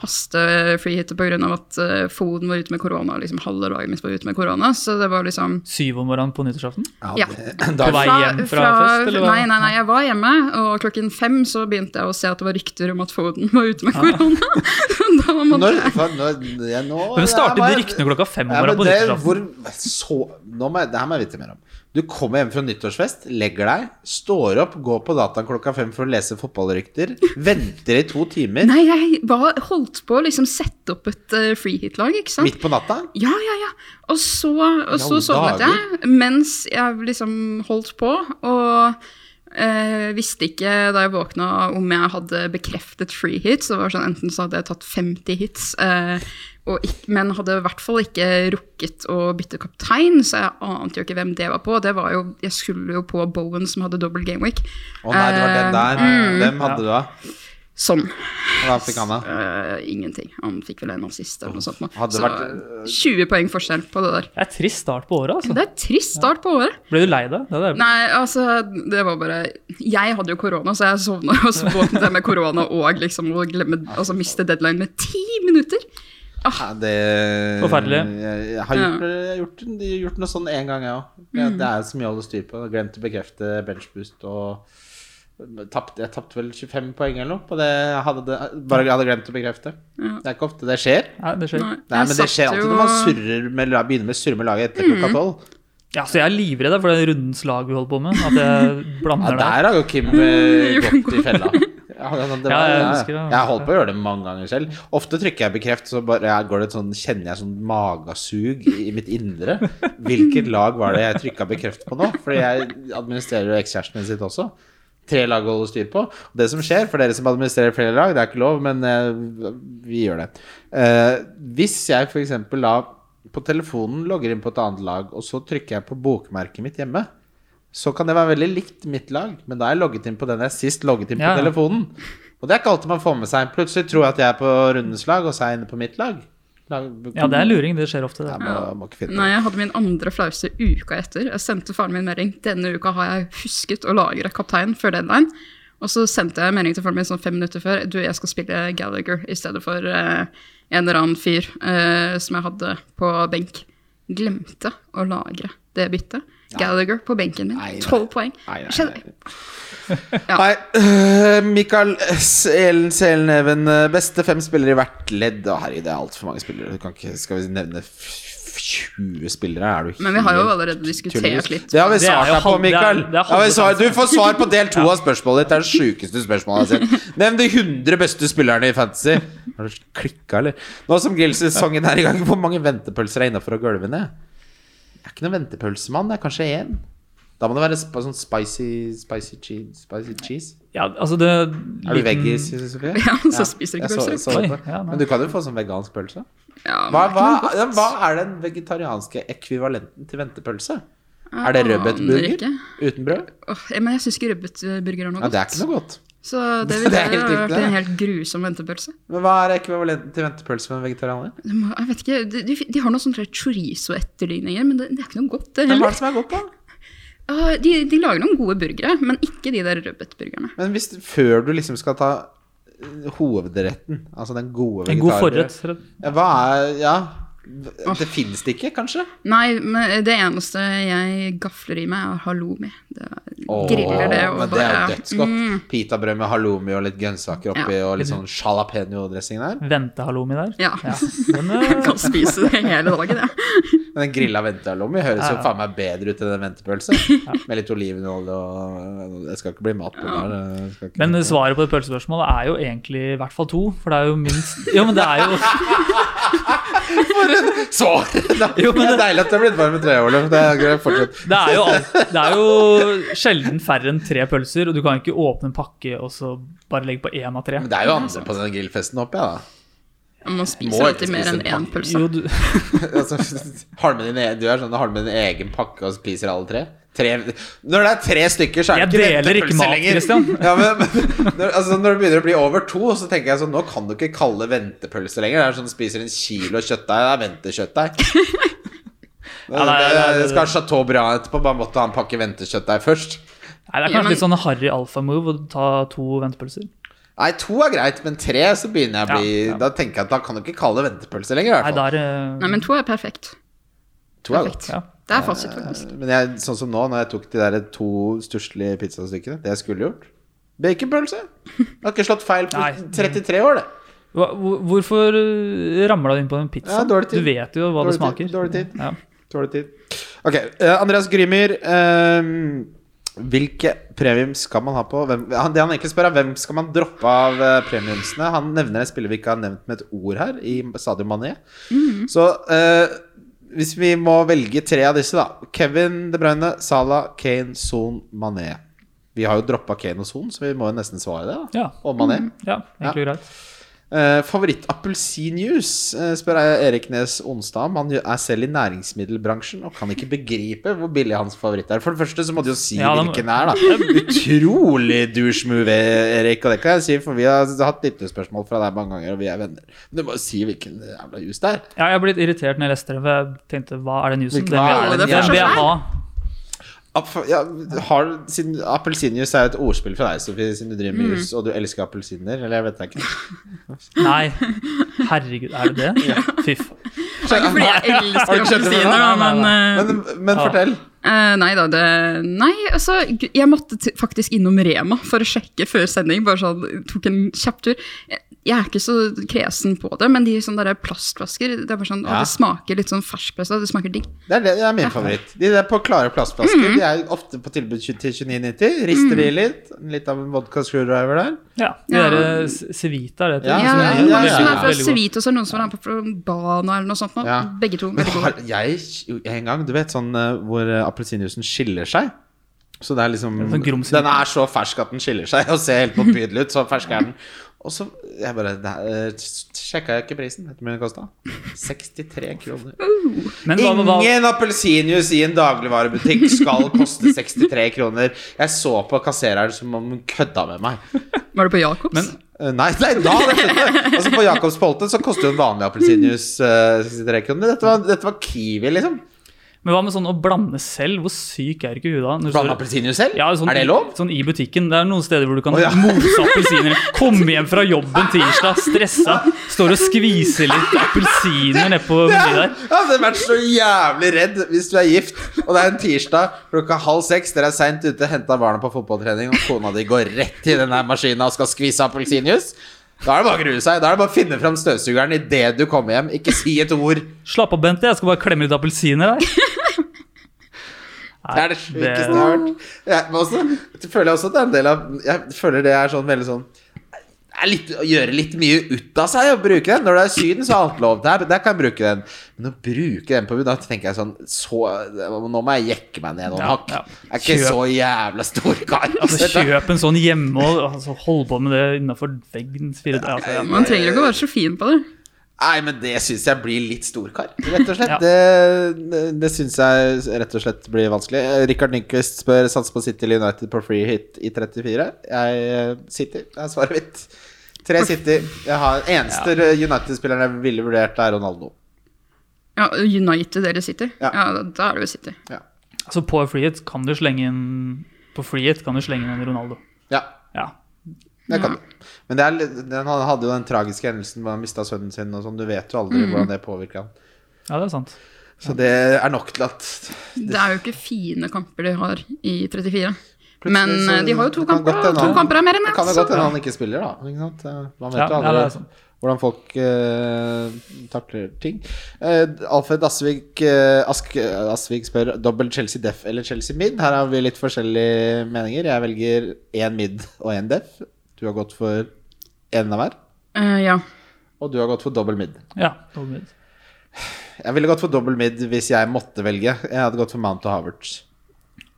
haste-freehitte pga. at eh, Foden var ute med korona. og liksom Halve laget mitt var ute med korona. Så det var liksom
Syv om morgenen på nyttårsaften?
Ja.
Da,
På vei hjem fra fest, eller hva?
Nei, nei, nei, jeg var hjemme, og klokken fem så begynte jeg å se at det var rykter om at Foden var ute med
Ah.
korona. da var man
når, for, når, ja, nå,
Hvem startet
ja,
de
men-
ryktene klokka fem om
Ja, men
morgenen på
det,
nyttårsaften?
hvor, så, nå må jeg, det her må jeg vite mer om. Du kommer hjem fra nyttårsfest, legger deg, står opp, går på dataen klokka fem for å lese fotballrykter, venter i to timer,
Nei, jeg var, holdt på å liksom sette opp et eh, freehit-lag, ikke sant?
midt på natta.
Ja, ja, ja. Og så, og så
alle
sovnet jeg mens jeg liksom holdt på, og Eh, visste ikke da jeg våkna om jeg hadde bekreftet free hits. Det var sånn, Enten så hadde jeg tatt 50 hits, eh, og ikk- men hadde i hvert fall ikke rukket å bytte kaptein, så jeg ante jo ikke hvem det var på. Det var jo, Jeg skulle jo på Bowen som hadde double game week. Eh,
Å nei, det var den der.
mm.
Hvem hadde du, da?
Sånn.
Hva fikk han, da?
Eh, ingenting. Han fikk vel en assist eller noe sånt. nå.
Hadde det
så
vært-
20 poeng forskjell på det der.
Det er trist start på året, altså.
Det er trist start på året.
Ble du lei deg? Det er det.
Nei, altså, det var bare Jeg hadde jo korona, så jeg sovna jo, og så våknet jeg med korona og liksom å glemme, altså, miste deadline med ti minutter.
Ja, Det
Forferdelig.
Jeg, jeg har gjort, jeg har gjort, jeg har gjort noe sånn én gang, jeg òg.
Mm.
Det er så mye å holde styr på. Jeg Glemte å bekrefte benchboost og tapte- Jeg tapte vel 25 poeng eller noe på det jeg hadde, bare jeg hadde glemt å bekrefte.
Ja.
Det er ikke ofte det skjer.
Nei, det skjer.
Nei,
Nei,
jeg
men det skjer
satt
alltid
jo- Mm.
når man surrer med, la- begynner med å surre med laget etter klokka tolv.
Ja, så jeg er livredd for det rundens lag vi holder på med. At jeg
Ja,
blander der.
der har jo Kim eh,
jo,
gått i
godt.
fella. Ja, ja, det var,
Ja, jeg
ja,
husker det,
ja.
jeg
Jeg har holdt på å gjøre det mange ganger selv. Ofte trykker jeg 'bekreft', så bare, ja, går det et sånn, kjenner jeg sånn magesug i mitt indre. Hvilket lag var det jeg trykka 'bekreft' på nå? Fordi jeg administrerer jo ekskjæresten min sitt også. Tre lag å holde styr på. Og det som skjer, for dere som administrerer flere lag, det er ikke lov, men eh, vi gjør det. Eh, hvis jeg f.eks. da på telefonen logger inn på et annet lag, og så trykker jeg på bokmerket mitt hjemme, så kan det være veldig likt mitt lag, men da er jeg logget inn på den jeg sist logget inn på
Ja, ja.
telefonen. Og det er ikke alltid man får med seg. Plutselig tror jeg at jeg er på rundens lag, og så er jeg inne på mitt lag. lag
Ja, det er luring. Det skjer ofte.
Jeg
Det.
må, må ikke finne
Nei, jeg hadde min andre flauste uka etter. Jeg sendte faren min melding. Denne uka har jeg husket å lagre kaptein før deadline. Og så sendte jeg melding til faren min sånn fem minutter før. Du, jeg skal spille Gallagher i stedet for eh, en eller annen fyr eh, som jeg hadde på benk. Glemte å lagre det byttet. Gallagher på benken
Nei, nei.
min. Tolv poeng.
Nei, nei,
Skjønner- Ja.
Nei, øh, Mikael S. Elen Selneven, øh, beste fem spillere i hvert ledd. Å, herregud, det er altfor mange spillere. Du kan ikke, skal vi nevne f- f- 20 spillere? Er du
Men vi har jo
helt
allerede diskutert
tullerus?
litt.
Det har vi
Det er
svart
jo
deg på,
halv-
Mikael.
det er- det er
Det har vi
halve
svar, du får svar på del to av spørsmålet ditt. Det er det sjukeste spørsmålet jeg har sett. Nevn de 100 beste spillerne i Fantasy. Har du klikka, eller? Nå som Grills-sesongen er i gang, hvor mange ventepølser er innafor å gulve ned? Jeg er ikke noen ventepølsemann. Det er kanskje én. Da må det være sp sånn spicy, spicy cheese. Spicy cheese.
Ja, altså det
Er du veggis, Sofie?
Ja, så spiser du ikke
Jeg så-
pølser.
så det.
Oi, ja, nei.
Men du kan jo få sånn vegansk pølse.
Ja,
Hva,
men-
hva, ja, hva er den vegetarianske ekvivalenten til ventepølse? Er det
Jeg aner
rødbetburger?
ikke.
Uten brød?
Åh, ja, men jeg syns ikke rødbetburger er noe
Ja,
godt.
det er ikke noe godt.
Så det ville
Det er helt
vært
riktig, det.
en helt grusom ventepølse.
Men hva er ekvivalenten til ventepølse for en vegetarianer?
Det må- Jeg vet ikke, De, de, de har noen sånne chorizo-etterligninger, men det, det er ikke noe godt. Det,
Men hva er
heller.
det som er godt, da?
Ah, de, de lager noen gode burgere, men ikke de der rødbetburgerne.
Men hvis, før du liksom skal ta eh, hovedretten, altså den gode
En god
vegetarburgeren
forrett.
ja, Hva er Ja. Det fins det ikke, kanskje?
Nei, men det eneste jeg gafler i meg, er halloumi. Det er,
Åh,
griller det og
men det er jo
bare
dødsgodt.
Mm,
Pitabrød med halloumi og litt grønnsaker oppi, og litt sånn jalapeño-dressing der.
Ventehalloumi der.
ja.
Ja. Den, eh,
Jeg kan spise det hele dagen, jeg.
Men den grilla ventehalloumi høres
Ja,
jo
ja.
faen meg bedre ut enn den ventepølse. Med litt olivenolje og Det skal ikke bli mat på den der. det skal ikke-
Men svaret på det pølsespørsmålet er jo egentlig i hvert fall to. For det er jo minst Jo, men det er jo
Så!
Jo, men
det er deilig at du har blitt varm i tre år, Løf. Det er greit, fortsett.
Det er jo, alt, det er jo sjelden færre enn tre pølser, og du kan ikke åpne en pakke og så bare legge på én av tre.
Men det er jo andre på den grillfesten, håper jeg, da.
Man
Må
spiser
ikke
alltid mer
spise
enn
pakke.
én pølse.
Jo, du,
Altså, har du med din e- du er sånn, har du med din egen pakke og spiser alle tre? tre? Når det er tre stykker, så er det
Jeg
ikke
deler ikke
ventepølse
mat,
lenger.
Christian.
Ja, men, men, når, altså, når det begynner å bli over to, så tenker jeg sånn Nå kan du ikke kalle det ventepølse lenger. Det er sånn spiser en kilo kjøttdeig, det er ventekjøttdeig.
Ja, nei, nei, nei,
Jeg skal ha
det-
Chateau Briand etterpå, bare måtte ha en pakke ventekjøttdeig først.
nei, det er
Ja, men-
kanskje litt sånn harry alfa-move å ta to ventepølser.
Nei, to er greit, men tre så begynner jeg å bli
Ja, ja.
Da tenker jeg at da kan du ikke kalle det ventepølse lenger, i
Nei,
hvert fall.
der eh,
Nei, men to er perfekt.
To er godt.
Perfekt.
Ja.
Det er fasit, faktisk.
Men jeg, sånn som nå, når jeg tok de der to stusslige pizzastykkene Det jeg skulle gjort Baconpølse! Jeg har ikke slått feil på
Nei.
33 år, det.
hva- hvor- Hvorfor eh, ramla du inn på den
Ja,
pizzaen?
dårlig tid.
du vet jo hva det
Dårlig tid,
smaker.
dårlig tid.
Ja.
Dårlig tid. Ok, eh, Andreas Grymyr. eh, hvilke premium skal man ha på? Hvem, han, det han egentlig spør, er hvem skal man droppe av eh, premiumsene? Han nevner en spiller vi ikke har nevnt med et ord her, i Sadio Mané. Så eh, hvis vi må velge tre av disse, da. Kevin De Bruyne, Salah, Kane, Son, Mané. Vi har jo droppa Kane og Son, så vi må jo nesten svare det. da
Ja.
Og Mané.
ja egentlig greit.
Eh, Favorittappelsinjuice, eh, spør jeg Erik Nes Onstad om. Han er selv i næringsmiddelbransjen og kan ikke begripe hvor billig hans favoritt er. For det første så må du jo si
Ja, da må-
hvilken det er, da. Utrolig douche-move, Erik, og det kan jeg si, for vi har hatt lyttespørsmål fra deg mange ganger, og vi er venner. Men du må jo si hvilken jævla juice det er.
Ja, jeg ble litt irritert når jeg leste det, for jeg tenkte hva er den jusen?
Hvilken-
Den
hva
vil jeg-
er den
den vil jeg
jævla-
ha.
App- Ja, har, siden Appelsinjuice er jo et ordspill fra deg, Sofie, siden du driver
Mm.
med jus, og du elsker appelsiner, eller jeg vet da ikke.
Nei. Herregud, er det det? Fiff.
Det er ikke fordi jeg
Har
elsker
du skjønt det
appelsiner,
nå?
da,
Nei, nei,
men eh,
Men, men
Ja.
fortell.
Eh, nei da, det Nei, altså, gu- jeg måtte t faktisk innom Rema for å sjekke før sending. Bare sånn, tok en kjapp tur. Jeg, jeg er ikke så kresen på det, men de sånne der plastflasker det er bare sånn, å,
Ja.
det smaker litt sånn ferskpressa. Det smaker digg.
Det er, det, det er min favoritt. De der på klare plastflasker
Mhm.
De er ofte på tilbud til 29,90. Rister de litt. Litt av en vodka screwdriver der.
Ja. De
Ja.
der eh, s- Civita, er det
Ja,
Ja,
ja, ja,
noen
ja,
som
ja.
er fra
Veldig godt.
Civita, og så er det noen som er på Bana eller noe sånt. nå.
Ja.
Begge to.
Men
veldig
har,
gode.
jeg En gang, du vet sånn eh, hvor eh, appelsinjuicen skiller seg. Så det er liksom
Sånn grums-
Den er så fersk at den skiller seg og ser helt motbydelig ut. Så fersk er den. Og så jeg bare uh, sjekka jeg ikke prisen. Vet du hvor mye det kosta? 63 kroner.
Men hva, hva, hva,
Ingen appelsinjuice i en dagligvarebutikk skal koste 63 kroner. Jeg så på kassereren som om hun kødda med meg.
Var det på Jacobs?
Eh, Nei, nei da hadde jeg skjønt det. Altså På Jacobs Polte så koster jo en vanlig appelsinjuice eh, 63 kroner. Dette var, dette var Kiwi, liksom.
men hva med sånn å blande selv? Hvor syk er ikke huet da? Når du
Blande
står-
appelsinjuice selv?
Ja, sånn,
er det lov?
Sånn i butikken. Det er noen steder hvor du kan
Å, ja.
mose appelsiner. Komme hjem fra jobben tirsdag, stressa, står og skviser litt appelsiner nedpå
Ja,
menyen der.
jeg hadde vært så jævlig redd hvis du er gift, og det er en tirsdag klokka halv seks, dere er seint ute, henta barna på fotballtrening, og kona di går rett i den der maskina og skal skvise appelsinjuice. Da er det bare å grue seg. Da er det bare å finne fram støvsugeren idet du kommer hjem. Ikke si et ord.
Slapp av, Bente, jeg skal bare klemme litt appelsiner her.
Det er det sjukeste jeg har hørt. Jeg, men også, jeg føler også at det er en del av Jeg føler det er sånn veldig sånn det er litt, Å gjøre litt mye ut av seg å bruke den. Når du er i Syden, så er alt lov. Der, der kan jeg bruke den. Men å bruke den på da tenker jeg sånn så, Nå må jeg jekke meg ned noen
Ja,
hakk.
ja.
Jeg er ikke
Kjøp.
så jævla stor kar.
Altså,
altså.
kjøp en sånn hjemme og altså, hold på med det innafor veggens fire altså, ja.
Man trenger ikke å være så fin på det.
Nei, men det syns jeg blir litt storkar, rett og slett.
Ja.
Det, det syns jeg rett og slett blir vanskelig. Eh, Rikard Nyquist spør sats på City eller United på free hit i 34. Jeg eh, City, det er svaret mitt. Tre City. Jeg har eneste United-spilleren jeg ville vurdert, er Ronaldo.
Ja, United eller City?
Ja.
Ja, da, da er det jo City.
Så på frihet kan du slenge inn På frihet kan du slenge inn en Ronaldo.
Ja,
Ja.
det kan du. Men det er, litt- den, han hadde jo den tragiske hendelsen hvor han mista sønnen sin og sånn. Du vet jo
Mm.
aldri hvordan det påvirker han.
ja, det er sant.
Så det er nok til at
Det er jo ikke fine kamper de har i 34.
Plutselig
Men
så-
eh, de har jo to
det kan
kamper,
godt hende
og to
han-
kamper er mer enn
Det kan jo godt hende
ett.
han ikke spiller, da. Ikke sant? Eh, Man vet
Ja,
jo
ja,
aldri
det er sant.
hvordan folk eh, takler ting. Eh, Alfred Asvik, eh, Ask, Asvik spør dobbel Chelsea Def eller Chelsea Mid. Her har vi litt forskjellige meninger. Jeg velger én Mid og én Def. Du har gått for én av hver.
Eh, ja.
Og du har gått for dobbel Mid.
Ja, overbevist.
Jeg ville gått for dobbel Mid hvis jeg måtte velge. Jeg hadde gått for Mount og Havertz.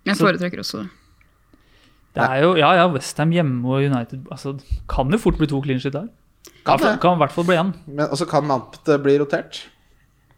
Jeg
Så-
foretrekker også det.
Det er jo, ja, ja, Westham hjemme og United altså, Kan det fort bli to clean shit der?
Kan
Ja,
det.
kan i hvert fall bli én.
Men- Og så kan Mount eh, bli rotert.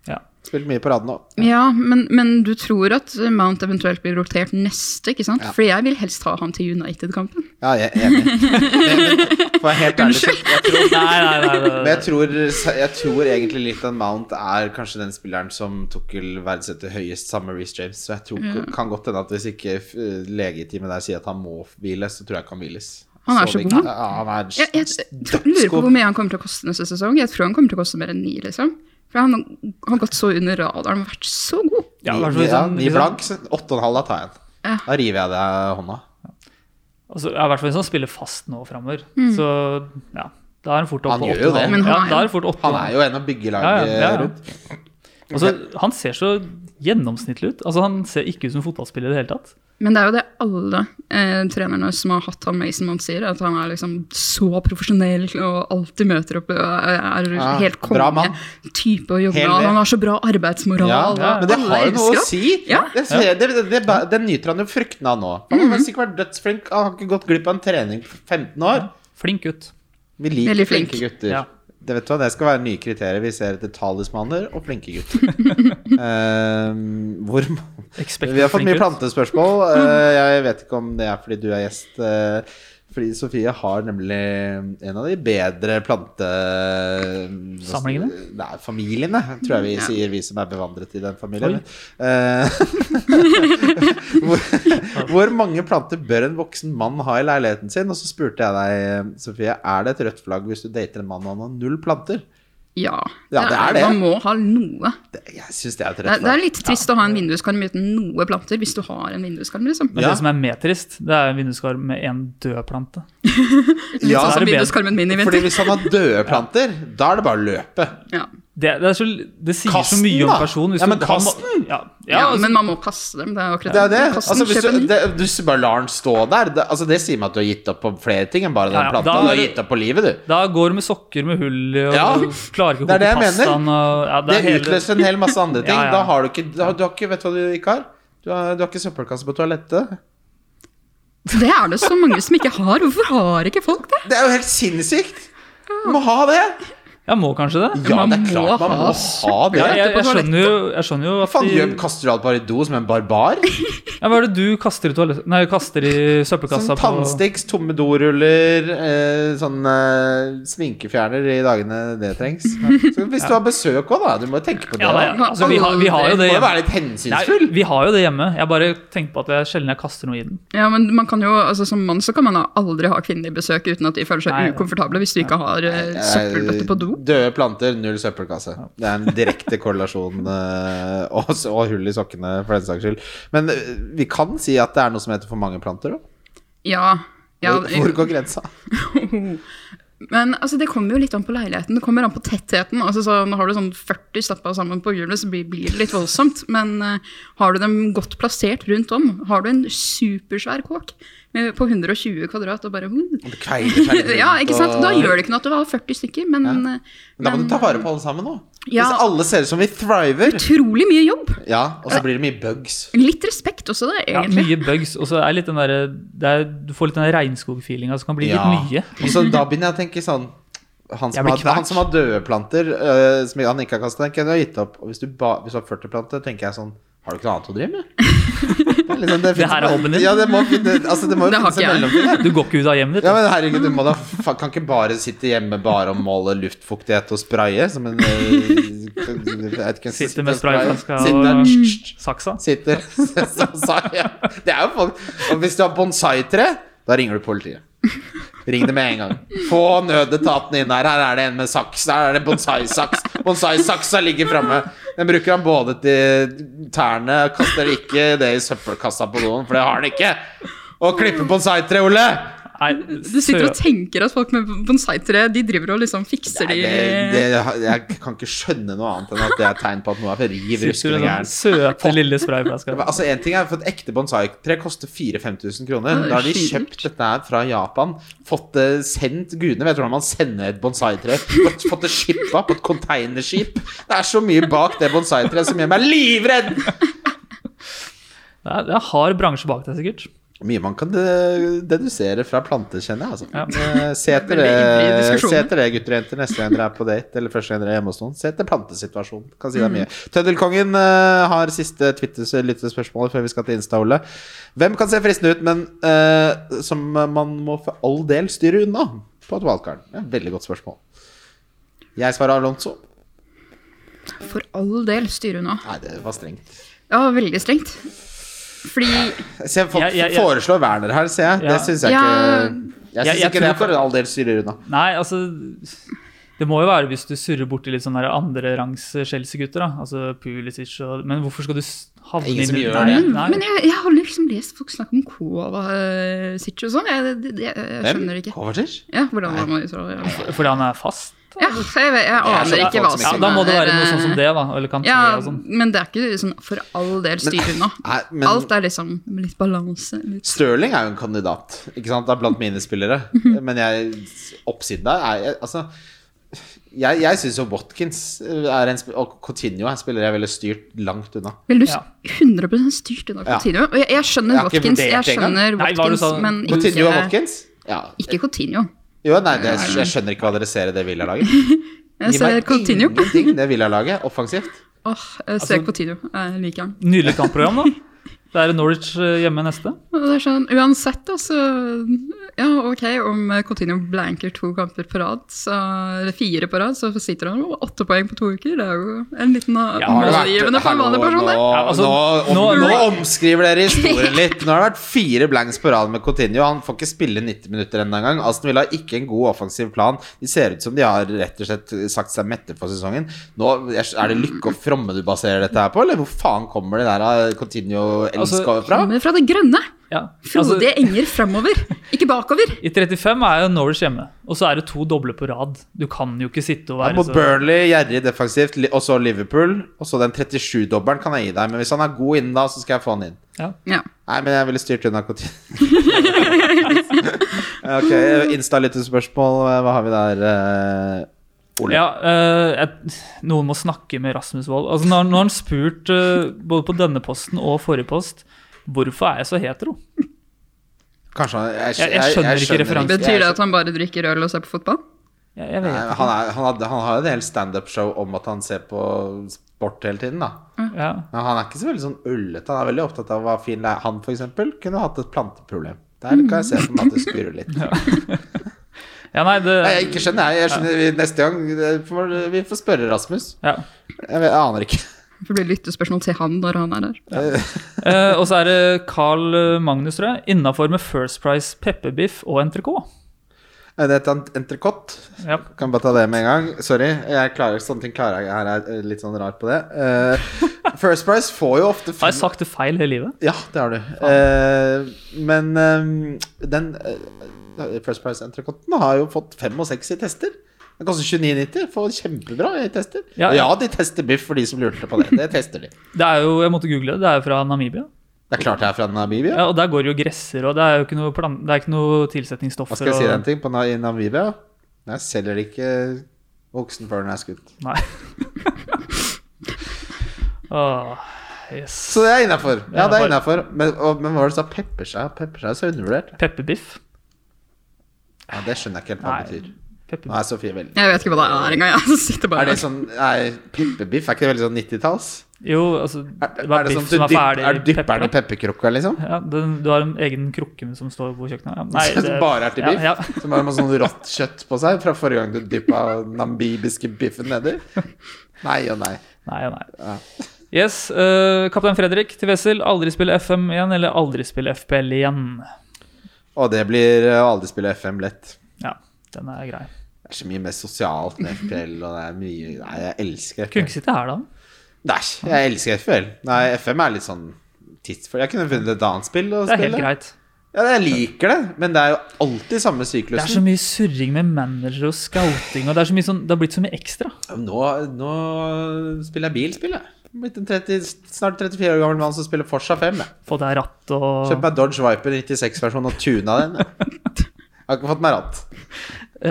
Ja.
Spilt mye på rad nå.
Ja, men, men du tror at Mount eventuelt blir rotert neste, ikke sant?
Ja.
Fordi jeg vil helst ha han til United-kampen.
Ja, jeg er enig. Men- For jeg er helt ærlig, så jeg tror,
Nei, nei, nei, nei,
men jeg tror, jeg tror egentlig litt at Mount er kanskje den spilleren som Tukkel verdsetter høyest, sammen med Reece James. Så jeg tror,
Mm.
kan godt hende at hvis ikke eh, legeteamet der sier at han må hviles, så tror jeg ikke han hviles.
Han er så
viktig.
god.
Ja, han er
Jeg, jeg, tror- lurer på hvor mye han kommer til å koste neste sesong. Jeg tror han kommer til å koste mer enn ni, liksom. For han har gått så under radaren og vært så god.
Ja, sånn- i hvert fall hvis
Ja,
han-
Ni
hvis han-
blank, så åtte og en halv, da tar jeg
Ja.
en. Da river jeg deg av hånda.
Altså, ja, I hvert fall hvis han spiller fast nå framover. Så ja, da er han fort opp
Han
på
gjør jo
8,5.
det.
Mm. Men han
Ja,
er-
da er han fort 8,5.
Han er jo en av byggelaget
Ja, ja, ja.
rundt.
Altså, han ser så gjennomsnittlig ut. Altså, han ser ikke ut som fotballspiller i det hele tatt.
Men det er jo det alle eh, trenerne som har hatt han Mason Mount sier, at han er liksom så profesjonell og alltid møter opp og er er
Ja,
helt
bra mann.
konge-type å jobbe
Helt
med.
det.
Han har så bra arbeidsmoral.
Ja,
og
men det
alle
har jo noe å
elsker han.
si.
Ja.
Det, ser- det, det, det, det nyter han jo fruktene av nå. Han
Mhm.
har sikkert vært dødsflink. Han har ikke gått glipp av en trening på 15 år.
Flink gutt.
Vi liker
Veldig flink.
flinke gutter.
Ja.
Det vet du hva, det skal være nye kriterier. Vi ser etter talismaner og flinke gutter. Ehm, hvor
Expect
Vi har fått mye
flink gutt.
plantespørsmål. Eh, jeg vet ikke om det er fordi du er gjest. eh, fordi Sofie har nemlig en av de bedre plante...
Samlingene?
Nei, familiene, tror jeg vi
Ja.
sier, vi som er bevandret i den familien.
Oi.
Eh, hvor, hvor mange planter bør en voksen mann ha i leiligheten sin? Og så spurte jeg deg, eh, Sofie, er det et rødt flagg hvis du dater en mann og han har null planter?
Ja,
Ja, det er det.
Man må ha noe.
Det, jeg syns det er et
Det,
rødt
er- det er
flagg.
litt trist å ha en vinduskarm uten noe planter, hvis du har en vinduskarm, liksom.
Men
Ja.
det som er mer trist, det er en vinduskarm med en død plante.
Litt
Ja,
sånn
det
som
er bedre.
vinduskarmen min i
Fordi
vinter.
hvis han har døde planter, da er det bare å løpe.
Ja.
Det, det, er så, det sier
Kasten,
så mye om
da.
personen. hvis
Ja,
du
men
kan-
kasten!
Ja,
Ja,
ja, altså,
men man må passe dem. Det er akkurat
Det er jo det.
Kasten,
Altså, hvis
kjøp en
du,
ny.
det, du s- bare lar den stå der. Det, altså, det sier meg at du har gitt opp på flere ting enn bare den
Ja, ja,
planta.
da-
Du har gitt opp på livet, du.
Da går du med sokker med hull i og
Ja,
klarer ikke å
det er det
koke
jeg
pastaen. Og, ja,
Det
er hele-
utløser en hel masse andre ting.
Ja, ja.
Da har du ikke, da, du har ikke Vet du hva du ikke har? Du har, du har ikke søppelkasse på toalettet.
Det er det så mange som ikke har. Hvorfor har ikke folk det?
Det er jo helt sinnssykt! Du må ha det!
Ja, må kanskje det.
Ja,
Man
det er
må
klart man må
ha
ha det.
Ja, jeg,
på
jeg, skjønner jo, jeg skjønner jo
Hva
at
Faen,
de,
gjør, kaster du alt bare i do som en barbar?
ja, Hva er det du kaster i, toalett, nei, kaster i søppelkassa
Sånn tannsticks, tomme doruller, eh, sånn eh, sminkefjerner i dagene det trengs. Så hvis du har besøk òg, da. Du må jo tenke på det.
Ja, nei,
da.
altså, vi, har, vi har jo
Du
det
må jo
hjemme.
være litt
Nei,
hensynsfull.
vi har jo det hjemme. Jeg bare tenker på at det er sjelden jeg kaster noe i den.
Ja, men man kan jo, altså Som mann så kan man da aldri ha kvinner i besøk uten at de føler seg
Nei.
ukomfortable hvis du ikke har eh, søppelbøtte på do.
Eh, Døde planter, null søppelkasse. Det er en direkte korrelasjon. eh, og, s- og hull i sokkene, for den saks skyld. Men eh, vi kan si at det er noe som heter for mange planter. Da.
Ja, ja
Hvor- Hvor går grensa?
Men altså, det kommer jo litt an på leiligheten. Det kommer an på tettheten. Altså, sånn, har du sånn 40 stappa sammen på hjulet, så blir, blir det litt voldsomt. Men eh, har du dem godt plassert rundt om, har du en supersvær kåk med, på 120 kvadrat og bare uh,
Det kveiler seg litt
Ja,
rundt,
ikke sant? Da
og-
gjør det ikke noe at du har 40 stykker, men, eh,
Men Da må
men
du ta vare på alle sammen nå.
Ja.
Hvis alle ser ut som vi thriver,
utrolig mye jobb.
ja, og så blir det mye bugs.
Litt respekt også, det,
Ja,
egentlig.
mye bugs. Og så er litt den der, det er, du får litt den der regnskogfeelinga som kan bli
Ja.
litt mye.
Og så da begynner jeg å tenke sånn han
Jeg
som,
blir
har,
knert.
han som har døde planter, eh, som han ikke har kastet, den kunne jeg gitt opp. Og hvis du, ba, hvis du har 40 planter, tenker jeg sånn Har du ikke noe annet å drive med? Det, er liksom, det, finnes-
her er hobbyen din.
Ja, det må, finne, altså, det må jo
Det har
finnes en
ikke jeg.
mellomting her.
Du går ikke ut av hjemmet ditt.
Ja, men herregud, du må da, fa- kan ikke bare sitte hjemme bare og måle luftfuktighet og spraye som en eh, jeg vet ikke,
Sitter med sprayflaska
Sitter der,
og-
tsk, tsk,
Saksa.
Sitter som sa, ja. Det er jo folk Og hvis du har bonsai-tre, da ringer du politiet. Ring det med en gang. Få nødetatene inn her. Her er det en med saks. Her er det bonsai-saks. Bonsai-saksa ligger framme. Den bruker han både til tærne Kaster ikke det i søppelkassa på doen, for det har han ikke. Og klippe bonsai-tre, Ole!
Nei,
Du sitter og
sø-
tenker at folk med bonsai-tre de driver og liksom fikser
Nei,
de
det, det, jeg kan ikke skjønne noe annet enn at det er tegn på at noe er riv
sitter
ruskende
sånn? med den
gærent.
søte lille sprayflaska.
Men Altså En ting er for Et ekte bonsai-tre koster 4000-5000 kroner.
det er
Da har de
skyhøyt.
kjøpt dette her fra Japan, fått det sendt Gudene vet hvordan man sender et bonsai-tre. Fått, fått det shippa på et containerskip. Det er så mye bak det bonsai-treet som gjør meg livredd!
Det er, det er hard bransje bak deg, sikkert.
Mye man kan eh, dedusere fra planter, kjenner jeg. Altså.
Ja.
Eh, Se, etter
Veldig ivrig i
det,
diskusjonen.
se etter det, gutter og jenter, neste gang dere er på date eller første gang dere er hjemme hos noen. Se etter plantesituasjonen. Kan si deg mye.
Mm.
Tøddelkongen eh, har siste Twitter-lyttespørsmål før vi skal til Insta-Ole. Hvem kan se fristende ut, men eh, som man må for all del styre unna på et valgkart? Ja, veldig godt spørsmål. Jeg svarer Alonso.
For all del, styrer unna.
Nei, det var strengt.
Ja, veldig strengt. Fordi
Se, folk
Jeg- jeg- jeg-
foreslår Werner her, ser jeg.
Ja.
Det syns jeg
Ja.
ikke Jeg
Jeg-
syns
jeg
ikke det er
tror-
for all del styrer unna.
Nei, altså Det må jo være hvis du surrer borti litt sånne der andrerangs Chelsea-gutter. da Altså Pulisic og Men hvorfor skal du s- havne
Ingen som
i-
gjør
Nei,
det.
nei.
Men jeg, jeg har liksom lest folk snakke om eh, Kovacic og sånn. Jeg, det- det- jeg, jeg skjønner det ikke.
Kovacic?
Ja, hvordan var man i Israel?
Fordi han er fast?
Ja, jeg, vet, jeg aner
skjønner folk
ikke hva
som ikke-
Ja,
som
da må det være
er,
noe sånn som
eh,
det, da. Eller kanté
Ja,
og sånn.
men det er ikke sånn for all del styr unna.
Nei, men
Alt er liksom litt balanse. Litt.
Stirling er jo en kandidat ikke sant? Det er blant mine spillere.
Mhm.
Men jeg, oppsiden der er jeg, Altså, jeg, jeg syns jo Watkins er en, sp- og Coutinho er spillere jeg ville styrt langt unna.
Vil du s-
Ja.
100 styrt unna
Ja.
Coutinho? Og jeg, jeg skjønner
Jeg har ikke
Watkins,
vurdert
jeg
det engang.
skjønner
Nei, hva du
Watkins
sa-
men
Coutinho og
ikke,
Watkins? Ja.
ikke Coutinho.
Jo, nei, det, jeg skjønner ikke hva dere ser i det Villa-laget.
Jeg
Gi
ser
meg
Coutinho.
ingenting det Villa-laget offensivt.
Åh, jeg ser
Altså-
Coutinho. Jeg liker han.
Nydelig kampprogram, da. Det er Norwich eh, hjemme neste.
Og det er sånn, uansett, da, så Ja, ok, om eh, Coutinho blanker to kamper på rad, så, eller fire på rad, så sitter han med åtte poeng på to uker. Det er jo en liten uh,
Ja, har det vært-
målgivende for en
Hallo,
vanlig person, det.
Nå,
Ja, altså,
nå,
nå-
om, nå
nå-
omskriver dere historien litt. Nå har det vært fire blanks på rad med Coutinho. Han får ikke spille 90 minutter ennå engang. Aston Villa har ikke en god offensiv plan. De ser ut som de har rett og slett sagt seg mette for sesongen. Nå Er det Lykke og Fromme du baserer dette her på, eller hvor faen kommer det der av Coutinho-elska
Altså,
fra?
Kommer fra det grønne.
Ja. Altså,
Frodige enger framover, ikke bakover.
I 35 er jo Norwich hjemme, og så er det to doble på rad. Du kan jo ikke sitte og
Han er
være
På Burnley, gjerrig defensivt, li- og så Liverpool. Og så den 37-dobbelen kan jeg gi deg, men hvis han er god innen da, så skal jeg få han inn.
Ja.
Nei, men jeg ville styrt unna Coutinho. ok, Insta-lyttespørsmål. Hva har vi der? eh, Ole?
Ja, eh, jeg, noen må snakke med Rasmus Wold. Altså, nå, har- nå har han spurt eh, både på denne posten og forrige post hvorfor er jeg så hetero.
Kanskje han Jeg,
Jeg- jeg skjønner ikke referansen.
Betyr det at han bare drikker øl og ser på fotball?
Jeg, jeg
Nei,
vet
han, er, han, hadde, han har jo et helt standup-show om at han ser på sport hele tiden, da.
ikke. Ja.
Men han er ikke så veldig sånn ullete. Han er veldig opptatt av hva fin lei Han, for eksempel, kunne hatt et planteproblem. Der kan jeg se for meg at det skurrer litt.
ja, nei, det
Nei, jeg ikke skjønner, jeg. jeg skjønner vi- Neste gang eh, får, vi får spørre Rasmus.
ja.
Jeg, vet, jeg aner ikke.
Det får bli lyttespørsmål til han når han er der.
Eh, Og så er det Carl eh, Magnus, tror jeg. Innafor med First Price pepperbiff og NTRK.
Er Det heter entrecôte.
Ja.
Kan bare ta det med en gang. Sorry. Jeg klarer, sånne ting klarer jeg. Her er jeg litt sånn rar på det. Eh, First Price får jo ofte
Har jeg
fin-
sagt det feil hele livet?
Ja, det har du. Eh, men eh, den eh, First Price entrecôten har jo fått fem og seks i tester. Den koster 29,90. Får kjempebra i tester.
Ja,
Ja,
ja.
de tester biff for de som lurte på det. Det tester de.
Det er jo, jeg måtte google det, det er jo fra Namibia.
Det er klart jeg er fra Namibia.
Ja, og der går det jo gresser, og det er jo ikke noe, plan det er ikke noe tilsetningsstoffer.
Hva skal jeg si
og-
deg en ting? På Na- I Namibia Der selger de ikke voksen før den er skutt.
Nei. Åh, yes.
Så det er innafor. Ja, det
Innenfor.
er innafor. Men, og- men hva var det du sa? Pepperskjær? Pepperskjær er så undervurdert.
Pepperbiff?
Ja, det skjønner jeg ikke helt hva det betyr. Nå
Pepperbiff.
er Sofie veldig
Jeg vet ikke hva det er engang. Jeg sitter
Er
bare
det sånn Nei, pepperbiff? Er ikke det veldig sånn 90-talls?
Jo, altså
Er,
Det
er
var
det
biff
sånn
som
du
var
dypper,
ferdig
er dypper den i
pepper.
pepperkrukka, liksom?
Ja, den, du har en egen krukke som står på kjøkkenet. Ja, nei,
som
det-
bare er til biff?
Ja, ja.
Som har masse sånn rått kjøtt på seg fra forrige gang du dyppa nambibiske biffen nedi? Nei og nei.
Nei og nei. Yes, eh, Kaptein Fredrik til Wessel. Aldri spille FM igjen, eller aldri spille FPL igjen.
Og det blir eh, å aldri spille FM lett.
Ja, den er grei.
Det er så mye mer sosialt med FPL, og det er mye Nei, jeg elsker
Kunne
FPL.
ikke sitte her, da.
Nei, jeg elsker FPL. Nei, FM er litt sånn tidsfordriv. Jeg kunne funnet et annet spill å
Det er helt
spille.
greit.
Ja, jeg liker det, men det er jo alltid samme syklusen.
Det er så mye surring med manager og scouting, og det er så mye sånn Det har blitt så mye ekstra.
Nå, nå spiller jeg bilspill, jeg. Jeg er Blitt en 30, snart 34 år gammel mann som spiller Forsa 5. Jeg.
Få deg ratt og
Kjøpt meg Dodge Viper 96-versjon og tuna den. Jeg. jeg har ikke fått meg ratt.